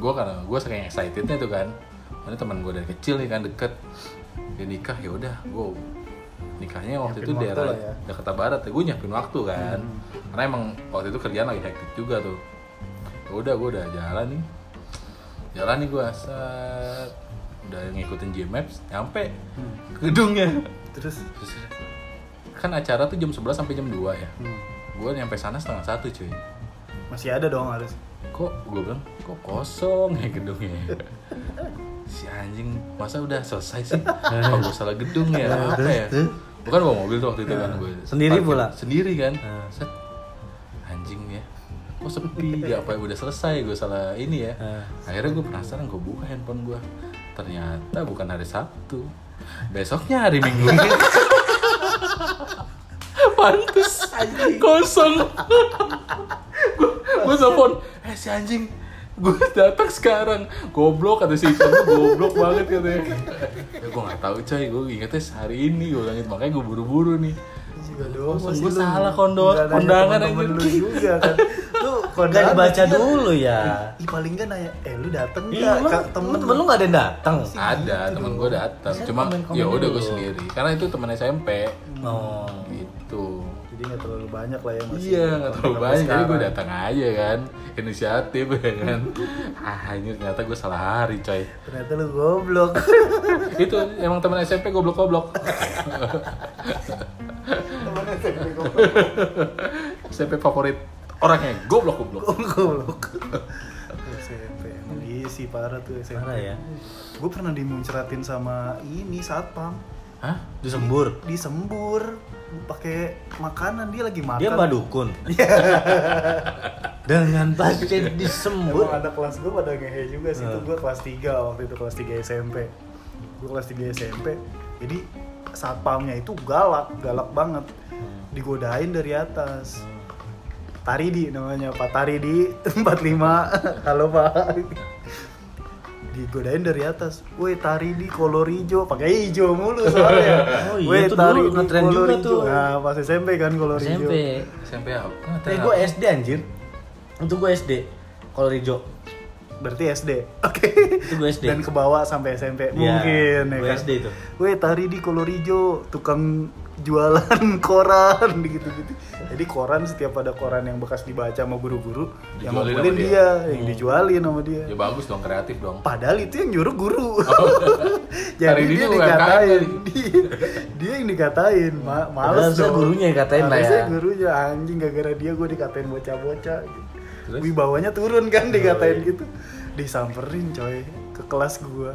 Speaker 1: gue karena gue saking excitednya tuh kan, karena temen gue dari kecil nih kan deket, dia nikah ya udah, gue nikahnya waktu
Speaker 3: Nyiapin
Speaker 1: itu
Speaker 3: waktu
Speaker 1: daerah
Speaker 3: lah ya. Hmm.
Speaker 1: Jakarta Barat ya gue nyiapin waktu kan karena emang waktu itu kerjaan lagi hektik juga tuh Ya udah gue udah jalan nih jalan nih gue set udah ngikutin ngikutin Gmaps nyampe
Speaker 3: Hmm.
Speaker 1: ke gedungnya
Speaker 3: terus
Speaker 1: Terus, kan acara tuh jam 11 sampai jam 2 ya
Speaker 3: hmm,
Speaker 1: gue nyampe sana setengah satu cuy
Speaker 3: masih ada dong harus
Speaker 1: kok gue bilang kok kosong ya gedungnya si anjing masa udah selesai sih apa gue salah gedung ya apa ya bukan bawa mobil tuh waktu itu kan gue
Speaker 2: Nah, Sendiri pula?
Speaker 1: sendiri kan
Speaker 2: Hmm.
Speaker 1: Set. anjing ya kok sepi ya apa ya, udah selesai gue salah ini ya
Speaker 2: Hmm.
Speaker 1: akhirnya gue penasaran gue buka handphone gue ternyata bukan hari Sabtu besoknya hari Minggu pantes kosong gue telepon eh si anjing gue datang sekarang goblok kata si Ican "Lu goblok banget katanya ya, gue nggak tahu coy gue ingetnya sehari ini gue langit makanya gue buru-buru nih
Speaker 3: juga dong
Speaker 1: Langsung Iya, gua salah kondo- kondangan
Speaker 3: temen
Speaker 1: aja.
Speaker 3: lu juga kan lu
Speaker 2: Gak
Speaker 3: kondangan
Speaker 2: dibaca dulu ya.
Speaker 3: Ih, paling gak nanya eh lu dateng
Speaker 2: Iya,
Speaker 3: gak
Speaker 2: lu-
Speaker 3: Kak, temen
Speaker 2: lu- temen lu gak ada yang datang.
Speaker 1: ada teman gue datang
Speaker 2: Saya
Speaker 1: cuma
Speaker 2: komen-komen
Speaker 1: ya udah gue
Speaker 2: dulu.
Speaker 1: sendiri karena itu teman SMP
Speaker 2: Oh.
Speaker 1: gitu
Speaker 3: jadi gak terlalu banyak lah ya masih
Speaker 1: Iya, nggak terlalu
Speaker 3: kontak-kontak
Speaker 1: banyak. Jadi gue
Speaker 3: sekarang.
Speaker 1: datang aja kan, inisiatif ya kan. ah, ini ternyata gue salah hari, coy.
Speaker 3: ternyata lu goblok
Speaker 1: Itu emang teman SMP goblok-goblok.
Speaker 3: temen SMP
Speaker 1: SMP favorit orangnya goblok-goblok.
Speaker 3: goblok SMP emang iya sih parah tuh SMP
Speaker 2: Parah ya.
Speaker 3: gue pernah dimuncratin sama ini satpam
Speaker 1: Hah?
Speaker 2: Disembur.
Speaker 3: disembur pakai makanan dia lagi makan
Speaker 2: Dia mbak dukun. Dengan tasnya disembur.
Speaker 3: Emang ada kelas gue pada ngehe juga sih itu
Speaker 2: Hmm.
Speaker 3: gue kelas 3 waktu itu kelas 3 SMP gue kelas 3 SMP jadi satpamnya itu galak galak banget
Speaker 2: Hmm.
Speaker 3: digodain dari atas Taridi namanya Pak Taridi 45 halo Pak digodain dari atas, woi Taridi kolor hijau, pakai hijau mulu soalnya.
Speaker 2: Oh iya,
Speaker 3: Woi,
Speaker 2: itu dulu ngetren
Speaker 3: kolor
Speaker 2: juga
Speaker 3: hijau."
Speaker 2: tuh.
Speaker 3: Nah, pas SMP kan kolor
Speaker 2: SMP.
Speaker 3: hijau.
Speaker 1: SMP apa? Ah,
Speaker 2: Eh gue SD anjir. Itu gue SD. Kalau Rijo.
Speaker 3: Berarti SD. Oke.
Speaker 2: Itu gue SD.
Speaker 3: Dan ke bawah sampai SMP
Speaker 2: Iya,
Speaker 3: mungkin ya
Speaker 2: gue
Speaker 3: kan.
Speaker 2: SD itu.
Speaker 3: Weh, tari di kolor hijau, tukang jualan koran gitu-gitu. Jadi koran setiap ada koran yang bekas dibaca sama guru-guru, yang
Speaker 1: Dijualin
Speaker 3: ngumpulin
Speaker 1: sama
Speaker 3: dia,
Speaker 1: dia.
Speaker 2: Hmm.
Speaker 3: yang dijualin sama dia.
Speaker 1: Ya bagus dong, kreatif dong.
Speaker 3: Padahal itu yang nyuruh guru. Jadi
Speaker 1: Hari ini
Speaker 3: dia
Speaker 1: UMKM
Speaker 3: dikatain.
Speaker 1: kali.
Speaker 3: Dia, dia yang dikatain. Ma males
Speaker 2: Harusnya
Speaker 3: dong.
Speaker 2: gurunya yang dikatain lah ya.
Speaker 3: Harusnya gurunya anjing gara-gara dia gue dikatain bocah-bocah.
Speaker 1: Terus?
Speaker 3: Wibawanya turun kan dikatain gitu. Disamperin coy ke kelas gue.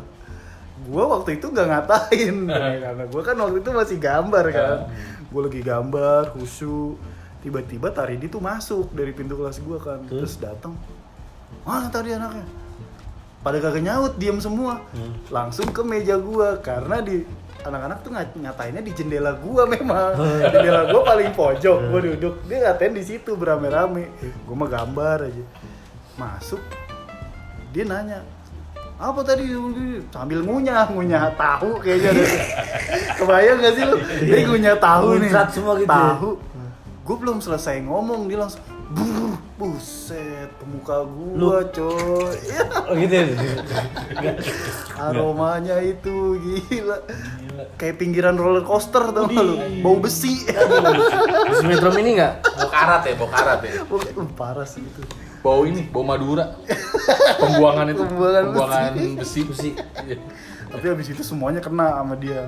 Speaker 3: Gue waktu itu gak ngatain karena gue kan waktu itu masih gambar kan. Gue lagi gambar, khusyuk. Tiba-tiba Taridi tuh masuk dari pintu kelas gue kan. Terus datang. Mana tadi anaknya? pada kagak nyaut diem semua
Speaker 2: Hmm.
Speaker 3: langsung ke meja gua karena di anak-anak tuh ngat- ngatainnya di jendela gua memang jendela gua paling pojok gua duduk dia ngatain di situ berame-rame gua mah gambar aja masuk dia nanya apa tadi sambil ngunyah ngunyah tahu kayaknya ada. kebayang gak sih lu dia ngunyah tahu nih
Speaker 2: Muncrat semua gitu ya?
Speaker 3: tahu gue belum selesai ngomong dia langsung "Brr, buset pemuka gua coy Iya,
Speaker 2: Oh gitu ya.
Speaker 3: aromanya itu gila. kayak pinggiran roller coaster tau gak lu bau besi
Speaker 2: Di Metro Mini enggak?
Speaker 1: Bau karat ya, bau karat ya.
Speaker 3: Uh, parah sih itu
Speaker 1: Bau ini, bau Madura. Pembuangan itu,
Speaker 3: Pembuangan
Speaker 1: pembuangan besi.
Speaker 2: Besi.
Speaker 1: Iya.
Speaker 3: tapi habis itu semuanya kena sama dia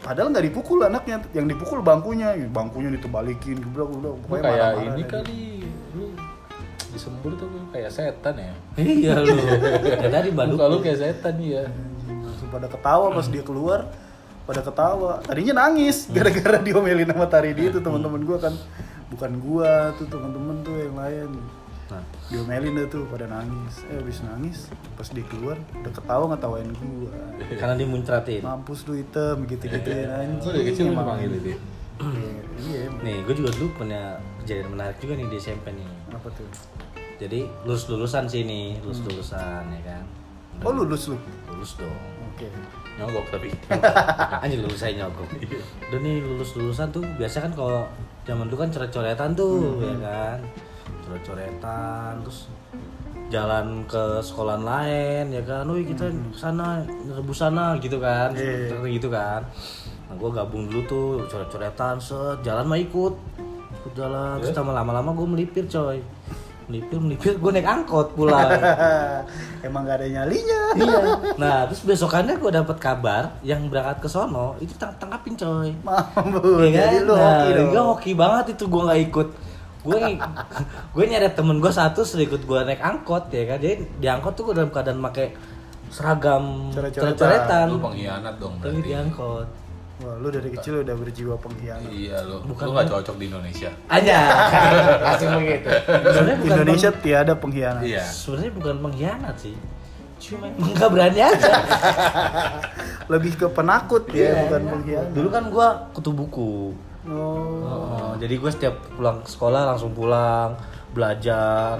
Speaker 3: padahal nggak dipukul anaknya yang dipukul bangkunya bangkunya ditebalikin gue bilang udah
Speaker 1: Lu kayak ini kali, lu disembur tuh lu kayak setan ya.
Speaker 2: Iya lu. Ya tadi Bandung.
Speaker 1: Muka lu kayak setan ya.
Speaker 3: Langsung pada ketawa pas dia keluar pada ketawa tadinya nangis gara-gara diomelin sama Taridi itu teman-teman gua kan bukan gua tuh teman-teman tuh yang lain
Speaker 2: Nah.
Speaker 3: diomelin deh tuh pada nangis eh habis nangis pas dia keluar udah ketawa ngetawain gua
Speaker 2: Karena dimuncratin.
Speaker 3: mampus lu item gitu-gitu ya
Speaker 1: Lu dari
Speaker 3: anjing
Speaker 1: kecil lu
Speaker 3: emang.
Speaker 1: dipanggil dia.
Speaker 3: Iya, iya emang.
Speaker 2: Nih, gue juga dulu punya kejadian menarik juga nih di SMP nih.
Speaker 3: apa tuh
Speaker 2: Jadi lulus lulusan sini, lulus lulusan ya kan.
Speaker 3: oh lulus lu
Speaker 2: Lulus dong.
Speaker 3: oke
Speaker 1: Nyogok tapi.
Speaker 2: Anjir lulus saya nyogok.
Speaker 3: Iya.
Speaker 2: Udah nih lulus lulusan tuh biasa kan kalau zaman dulu kan coret-coretan
Speaker 3: Hmm,
Speaker 2: tuh ya kan. Coret-coretan terus jalan ke sekolah lain ya kan. Woi kita ke sana rebus sana gitu kan.
Speaker 3: Hmm. Iya.
Speaker 2: Seperti gitu kan. Nah, gue gabung dulu tuh
Speaker 3: Iya.
Speaker 2: coret-coretan set jalan mah ikut. Ikut jalan terus lama lama-lama gue melipir coy. melipir melipir gue naik angkot pulang
Speaker 3: Emang gak ada nyalinya.
Speaker 2: iya nah terus besokannya gue dapat kabar yang berangkat ke sono itu tang tangkapin coy
Speaker 3: Mampu. Jadi lu
Speaker 2: Nah,
Speaker 3: hoki dong.
Speaker 2: gua hoki banget itu gue nggak ikut gue gue nyari temen gue satu sudah ikut gue naik angkot ya kan jadi di angkot tuh gue dalam keadaan pakai seragam
Speaker 3: Coret-coretan.
Speaker 2: coret-coretan
Speaker 1: Lu pengkhianat dong
Speaker 2: tapi di
Speaker 1: berarti.
Speaker 2: angkot
Speaker 3: Wah, lu dari kecil udah berjiwa pengkhianat.
Speaker 1: Iya lu.
Speaker 2: Bukan
Speaker 1: lu nggak cocok di Indonesia.
Speaker 2: aja langsung begitu sebenarnya bukan
Speaker 3: Indonesia
Speaker 2: peng-
Speaker 3: tiada pengkhianat.
Speaker 1: Iya.
Speaker 2: sebenarnya bukan pengkhianat sih cuma emang nggak berani aja
Speaker 3: Lebih ke penakut ya, bukan pengkhianat.
Speaker 2: dulu kan gue kutu buku
Speaker 3: Oh.
Speaker 2: Oh, jadi gue setiap pulang sekolah langsung pulang belajar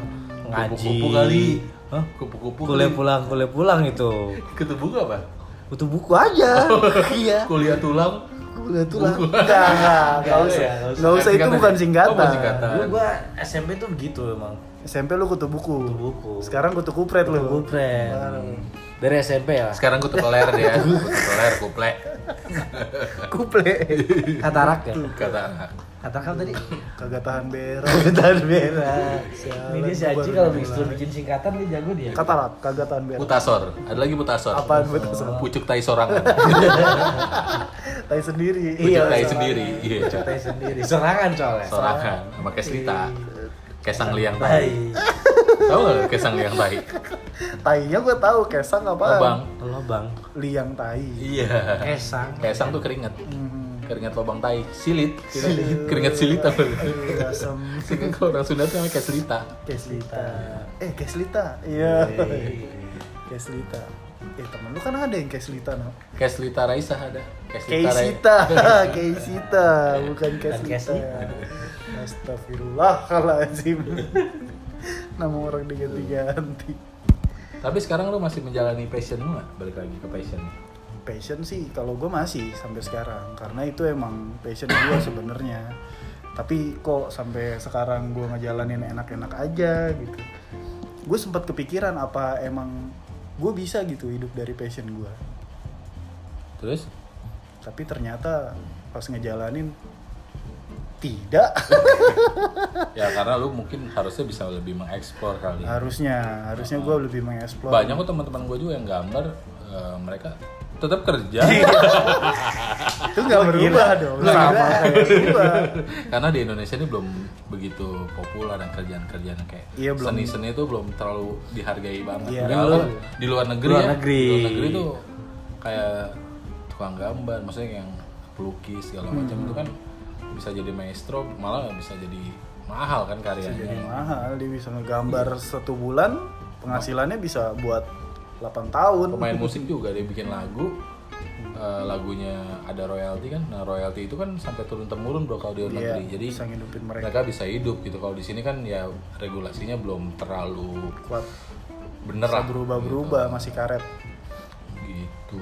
Speaker 2: ngaji
Speaker 1: Kupu-kupu kali.
Speaker 2: Hah?
Speaker 1: Kupu-kupu.
Speaker 2: kuliah
Speaker 1: kali.
Speaker 2: pulang kuliah pulang itu
Speaker 1: Ketemu gak, apa?
Speaker 2: butuh buku aja iya
Speaker 1: Kuliah tulang.
Speaker 3: Udah tuh lah. Enggak, enggak, enggak
Speaker 2: Nggak ada ya, nggak
Speaker 3: usah.
Speaker 2: usah.
Speaker 3: Enggak usah itu
Speaker 1: Singkatan
Speaker 3: bukan
Speaker 1: ya?
Speaker 3: singkatan.
Speaker 1: Oh, bukan singkatan.
Speaker 2: dulu gue SMP tuh gitu emang
Speaker 3: SMP lu kutu buku.
Speaker 2: Kutu buku.
Speaker 3: Sekarang kutu kupret lu.
Speaker 2: gue dari SMP
Speaker 1: Nah,
Speaker 2: ya
Speaker 1: Sekarang gue tukeler ya. Gue tukeler, kuplek.
Speaker 3: Kuple.
Speaker 2: katarak ya
Speaker 1: Kata anak.
Speaker 2: katarak apa tadi
Speaker 3: Kagak tahan berak.
Speaker 2: kebutuhan merah
Speaker 3: Sialan,
Speaker 2: ini si
Speaker 3: gua
Speaker 2: Aji
Speaker 3: baru
Speaker 2: kalau
Speaker 3: mulai.
Speaker 2: disuruh bikin singkatan dia jago dia
Speaker 3: Katarak, kagak tahan berak.
Speaker 1: Putasor. Ada lagi putasor.
Speaker 3: Apaan putasor?
Speaker 1: Pucuk tai sorangan.
Speaker 3: Tai sendiri.
Speaker 1: Pucuk tai sendiri. Iya.
Speaker 2: Santai sendiri sorangan soalnya
Speaker 1: Sorangan. Sama keslita. Kesang liang
Speaker 2: Tai.
Speaker 1: tai. Tahu nggak lu kesang liang tai?
Speaker 3: Tainya gua tahu kesang apaan.
Speaker 1: Lobang.
Speaker 2: lobang
Speaker 3: Liang tai.
Speaker 1: Iya.
Speaker 2: kesang
Speaker 1: Kesang tuh keringat.
Speaker 3: Mhm.
Speaker 1: Keringat lobang tai. Silit. Keringat silit apa?
Speaker 3: Eh, Asam
Speaker 1: Sehingga kalau orang Sunda tuh namanya keslita.
Speaker 3: keslita. Eh, keslita. Iya. Keslita. Eh, temen lu kan ada yang keslita, no?
Speaker 1: Keslita Raisa ada. Keslita Raisa.
Speaker 3: Keisita, Keisita, bukan Keslita.
Speaker 2: Keslita.
Speaker 3: Astagfirullahaladzim. Nama orang diganti-ganti.
Speaker 1: Tapi sekarang lu masih menjalani passion lu nggak? Balik lagi ke passion.
Speaker 3: Passion sih, kalau gue masih sampai sekarang, karena itu emang passion gue sebenarnya. Tapi kok sampai sekarang gue ngejalanin enak-enak aja gitu. Gue sempat kepikiran apa emang gue bisa gitu hidup dari passion gue.
Speaker 1: Terus?
Speaker 3: Tapi ternyata pas ngejalanin tidak.
Speaker 1: Ya karena lu mungkin harusnya bisa lebih mengeksplor kali.
Speaker 3: Iya. harusnya harusnya gue lebih mengeksplor
Speaker 1: Banyak kok teman-teman gue juga yang gambar eh, mereka tetap kerja
Speaker 3: itu nggak berubah dong
Speaker 1: Nggak
Speaker 3: sama kayak gua.
Speaker 1: karena di Indonesia ini belum begitu populer dan kerjaan-kerjaan kayak
Speaker 3: Iya, belum.
Speaker 1: seni-seni itu belum terlalu dihargai banget.
Speaker 3: Iya.
Speaker 1: Padahal
Speaker 2: Belum.
Speaker 1: di luar negeri
Speaker 2: Luar
Speaker 1: ya,
Speaker 2: negeri.
Speaker 1: di luar negeri tuh kayak tukang gambar, maksudnya yang pelukis segala macam
Speaker 3: Hmm.
Speaker 1: itu kan bisa jadi maestro, malah bisa jadi mahal kan karyanya.
Speaker 3: jadi mahal dia bisa ngegambar satu bulan penghasilannya bisa buat 8 tahun
Speaker 1: pemain musik juga dia bikin lagu eh, lagunya ada royalti kan nah royalti itu kan sampai turun temurun bro kalau di luar
Speaker 3: Iya,
Speaker 1: negeri jadi
Speaker 3: bisa ngidupin mereka.
Speaker 1: mereka bisa hidup gitu kalau di sini kan ya regulasinya belum terlalu
Speaker 3: kuat
Speaker 1: bener
Speaker 3: bisa
Speaker 1: lah
Speaker 3: berubah berubah masih karet
Speaker 1: gitu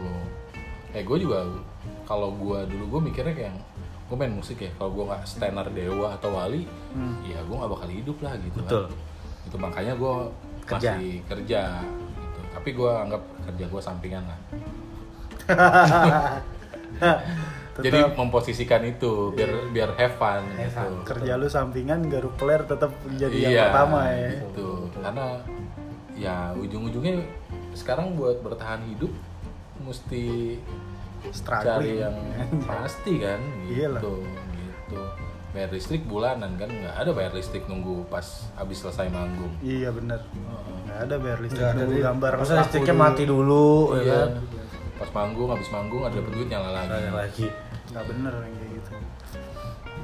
Speaker 1: eh gue juga kalau gue dulu gue mikirnya kayak gue main musik ya kalau gue nggak standar dewa atau wali ya gue nggak bakal hidup lah gitu
Speaker 2: Betul.
Speaker 1: kan itu makanya gue
Speaker 2: Kerja.
Speaker 1: masih kerja gitu. tapi gue anggap kerja gue sampingan lah jadi memposisikan itu biar biar have fun, gitu.
Speaker 3: kerja lu sampingan garuk peler tetap menjadi yang
Speaker 1: Iya,
Speaker 3: pertama ya
Speaker 1: gitu. karena ya ujung-ujungnya sekarang buat bertahan hidup mesti cari
Speaker 3: struggling
Speaker 1: yang pasti kan
Speaker 3: Iyalah.
Speaker 1: gitu gitu bayar listrik bulanan kan nggak ada bayar listrik nunggu pas habis selesai manggung
Speaker 3: iya bener
Speaker 1: Oh.
Speaker 3: nggak ada bayar listrik
Speaker 2: Nggak ada
Speaker 3: Iya, nunggu
Speaker 2: di-
Speaker 3: gambar
Speaker 2: Masa
Speaker 3: aku
Speaker 2: listriknya
Speaker 3: dulu.
Speaker 2: mati dulu ya kan?
Speaker 1: Iya. pas manggung habis manggung ada dapet duit nyala lagi
Speaker 2: Tanya lagi
Speaker 3: nggak bener yang kayak gitu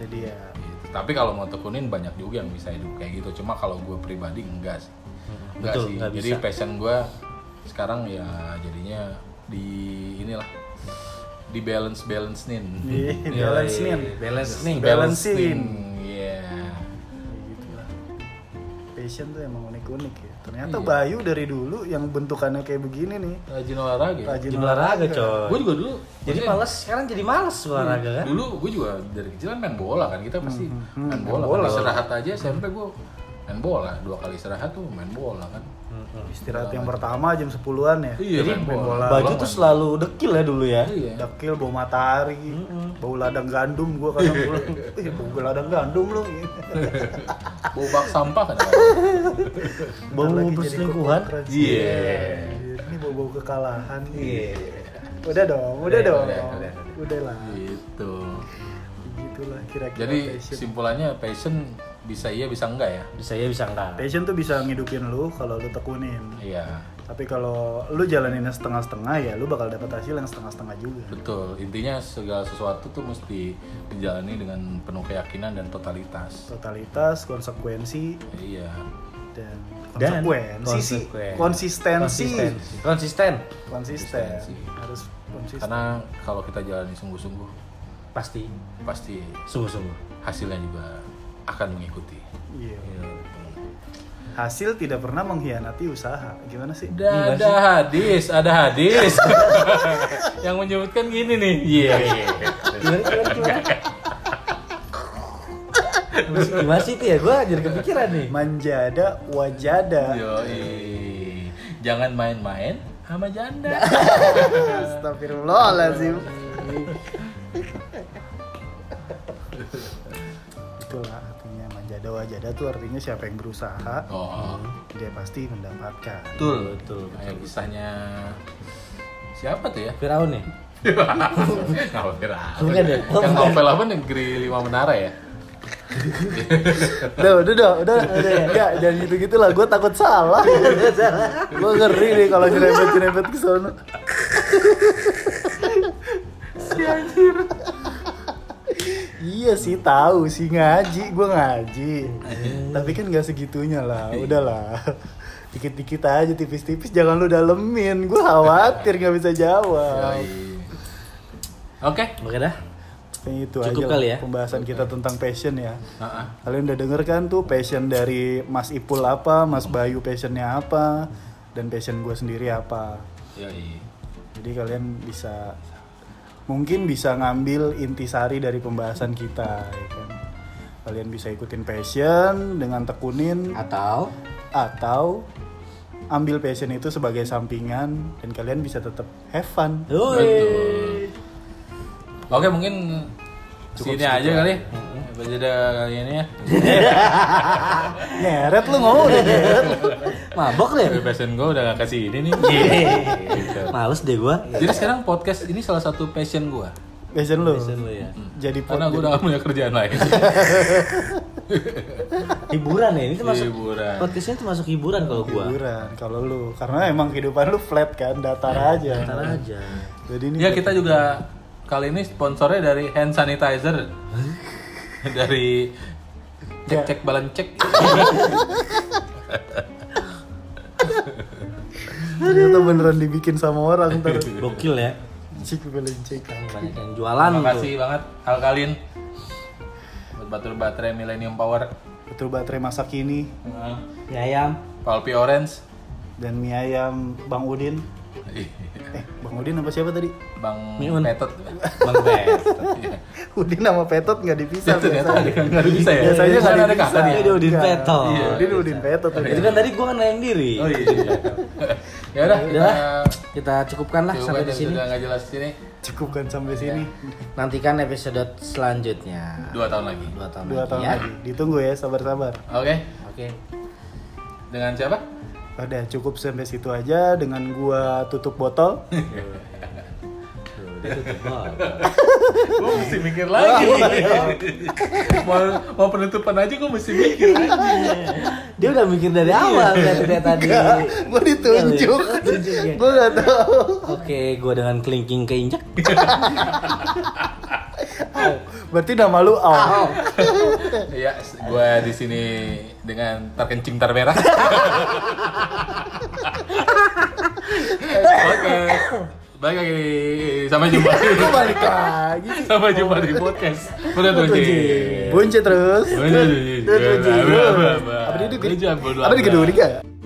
Speaker 3: jadi ya
Speaker 1: Gitu. tapi kalau mau tekunin banyak juga yang bisa hidup kayak gitu cuma kalau gue pribadi enggak sih enggak
Speaker 2: Betul,
Speaker 1: sih
Speaker 2: nggak
Speaker 1: jadi
Speaker 2: bisa.
Speaker 1: passion gue sekarang ya jadinya di inilah di balance balancein
Speaker 3: di
Speaker 1: iya,
Speaker 3: balance nih
Speaker 2: balance Iya. nih
Speaker 3: Balancing.
Speaker 1: ya
Speaker 3: Ya gitulah. Passion tuh emang unik-unik ya. Ternyata
Speaker 1: Iya.
Speaker 3: Bayu dari dulu yang bentukannya kayak begini nih.
Speaker 1: rajin olahraga
Speaker 3: Rajin
Speaker 2: jadi olahraga coy
Speaker 1: gue juga dulu
Speaker 2: jadi
Speaker 1: maksudnya-
Speaker 2: males sekarang jadi males olahraga
Speaker 3: Hmm.
Speaker 2: kan Hmm,
Speaker 1: dulu gue juga dari kecil kan main bola kan kita pasti main bola,
Speaker 3: bola.
Speaker 1: kan. istirahat aja SMP gue main bola dua kali istirahat tuh main bola kan
Speaker 2: Hmm.
Speaker 3: Istirahat yang pertama jam 10-an ya.
Speaker 1: Iya,
Speaker 3: Jadi
Speaker 1: main
Speaker 3: main
Speaker 1: bola.
Speaker 3: bola.
Speaker 2: Baju tuh selalu dekil ya dulu ya.
Speaker 1: iya
Speaker 3: Dekil bau matahari, bau ladang gandum gua kadang pulang.
Speaker 1: Iya.
Speaker 3: Ih, bau ladang gandum lu.
Speaker 1: bau bak sampah kan
Speaker 2: Bau
Speaker 3: Ntar lagi jadi
Speaker 2: perselingkuhan.
Speaker 3: koko crunch.
Speaker 1: Iya.
Speaker 3: Ini bau-bau kekalahan.
Speaker 2: Iya.
Speaker 3: Udah dong, udah
Speaker 1: Udah,
Speaker 3: dong.
Speaker 1: udah, udah.
Speaker 3: Udah lah.
Speaker 1: gitu
Speaker 3: Begitulah kira-kira
Speaker 1: jadi
Speaker 3: passion.
Speaker 1: simpulannya passion bisa iya bisa enggak ya
Speaker 2: Bisa ya bisa enggak.
Speaker 3: Passion tuh bisa ngidupin lu kalau lu tekunin.
Speaker 1: iya
Speaker 3: Tapi kalau lu jalaninnya setengah-setengah ya lu bakal dapat hasil yang setengah-setengah juga.
Speaker 1: betul intinya segala sesuatu tuh mesti dijalani dengan penuh keyakinan dan totalitas
Speaker 3: Totalitas, konsekuensi,
Speaker 1: iya
Speaker 3: dan
Speaker 2: Dan
Speaker 3: konsekuensi sih.
Speaker 2: konsekuen-
Speaker 3: konsistensi
Speaker 2: Konsisten. Konsisten.
Speaker 3: konsisten
Speaker 1: Konsistensi.
Speaker 3: harus konsisten
Speaker 1: karena kalau kita jalani sungguh-sungguh
Speaker 2: Pasti.
Speaker 1: pasti
Speaker 2: Sungguh-sungguh.
Speaker 1: hasilnya juga akan mengikuti
Speaker 3: Iya. hasil tidak pernah mengkhianati usaha gimana sih
Speaker 1: Udah ada hadis, ada hadis. yang menyebutkan gini nih. Iya.
Speaker 2: Gimana sih itu ya? Gue jadi kepikiran nih.
Speaker 3: manjada wajada
Speaker 1: Yoi. Jangan main-main sama janda. Iya.
Speaker 3: astagfirullahalazim itulah artinya manjada wajada tuh artinya siapa yang berusaha
Speaker 1: Oh,
Speaker 3: dia pasti mendapatkan
Speaker 1: betul, betul. Kayak kisahnya siapa tuh ya?
Speaker 2: Firaun nih.
Speaker 1: Kalau Firaun.
Speaker 2: Bukan ya?
Speaker 1: Yang novel apa negeri lima menara ya?
Speaker 3: udah udah udah udah udah enggak jangan gitu gitu lah gue takut salah gue ngeri nih kalau nyerempet nyerempet ke sana si anjir iya sih tahu sih ngaji gue ngaji tapi kan nggak segitunya lah udahlah dikit-dikit aja tipis-tipis jangan lu dalemin gue khawatir nggak bisa jawab
Speaker 1: Yoi. Oke.
Speaker 2: Oke dah.
Speaker 3: Kayaknya itu
Speaker 2: Cukup
Speaker 3: aja lah
Speaker 2: kali ya.
Speaker 3: pembahasan kita tentang passion ya
Speaker 1: Heeh.
Speaker 3: Kalian udah denger kan tuh passion dari Mas Ipul apa, Mas Bayu passionnya apa, dan passion gue sendiri apa.
Speaker 1: Yoi.
Speaker 3: Jadi kalian bisa mungkin bisa ngambil intisari dari pembahasan kita. ya kan? Kalian bisa ikutin passion dengan tekunin
Speaker 2: Atau
Speaker 3: atau ambil passion itu sebagai sampingan dan kalian bisa tetap have fun.
Speaker 2: Betul.
Speaker 1: Oke, mungkin sini aja kali. Apa jeda kali ini ya?
Speaker 3: Nyeret lu ngomong udah nyeret.
Speaker 2: Mabok ya? deh.
Speaker 1: Passion gue udah gak kasih ini nih. Gitu.
Speaker 2: Males deh gue.
Speaker 1: Jadi sekarang podcast ini salah satu passion gue.
Speaker 3: Passion lu.
Speaker 2: ya.
Speaker 3: Jadi
Speaker 1: Karena gue udah gak punya kerjaan lain.
Speaker 2: Hiburan ya. Ini termasuk
Speaker 1: Hiburan.
Speaker 2: podcastnya termasuk hiburan kalau gue.
Speaker 3: hiburan kalau lu karena emang kehidupan lu flat kan datar aja
Speaker 2: Ntar aja.
Speaker 3: jadi ini
Speaker 1: Ya kita juga kali ini sponsornya dari hand sanitizer. dari cek
Speaker 2: Ya.
Speaker 1: cek balan cek.
Speaker 3: ternyata beneran dibikin sama orang ntar
Speaker 2: Gokil ya.
Speaker 3: cik belencek
Speaker 2: Banyak yang jualan
Speaker 1: Terima
Speaker 2: tuh.
Speaker 1: kasih banget Alkalin. Buat baterai baterai Millennium Power.
Speaker 3: betul baterai masa kini
Speaker 2: Mie ayam.
Speaker 1: Palpi Orange.
Speaker 3: dan mie ayam bang udin eh bang udin apa siapa tadi
Speaker 1: Bang
Speaker 2: Miun.
Speaker 1: Petot.
Speaker 2: Bang Bes.
Speaker 1: Iya.
Speaker 3: udin sama petot nggak dipisah
Speaker 1: Itu ternyata ada nggak ada bisa ya.
Speaker 3: biasanya nggak
Speaker 1: Biasanya ada
Speaker 3: dipisah.
Speaker 1: kakak
Speaker 2: Ini
Speaker 1: ya.
Speaker 2: udah Udin Peto.
Speaker 3: Iya, udin udin petot udah.
Speaker 2: Itu kan tadi gue kan nanya diri.
Speaker 1: iya. Oh iya. ya udah kita
Speaker 2: Udah, kita cukupkan lah
Speaker 1: coba
Speaker 2: sampai di
Speaker 1: dan
Speaker 2: sini.
Speaker 1: sudah nggak jelas di sini
Speaker 3: cukupkan sampai
Speaker 2: Iya.
Speaker 3: sini
Speaker 2: Nantikan episode selanjutnya.
Speaker 1: dua tahun lagi.
Speaker 2: Nah. Dua tahun
Speaker 3: dua
Speaker 2: lagi
Speaker 3: tahun
Speaker 2: ya.
Speaker 3: lagi ditunggu ya sabar-sabar
Speaker 1: Oke.
Speaker 2: Oke.
Speaker 1: Dengan siapa?
Speaker 3: udah cukup sampai situ aja dengan gua tutup botol
Speaker 2: Tuh, dia tutup botol.
Speaker 1: gue mesti mikir lagi. mau, mau penutupan aja gue mesti mikir lagi.
Speaker 2: Dia udah mikir dari awal
Speaker 1: Iya.
Speaker 2: dari dari tadi.
Speaker 3: gua ditunjuk
Speaker 2: Tunjuk ya.
Speaker 3: gua nggak tahu
Speaker 2: Oke, gue dengan kelingking keinjak.
Speaker 3: berarti nama lu Al.
Speaker 1: ya, gue di sini dengan terkencing termerah. Oke. Baik lagi. Sampai jumpa.
Speaker 3: Kok balik lagi sih?
Speaker 1: Sampai jumpa di podcast. Udah tuh.
Speaker 3: Bunci terus.
Speaker 1: Bunci.
Speaker 3: Bunci.
Speaker 1: Apa
Speaker 3: Apa
Speaker 1: di
Speaker 3: di gedung? Apa di gedung? Apa di gedung?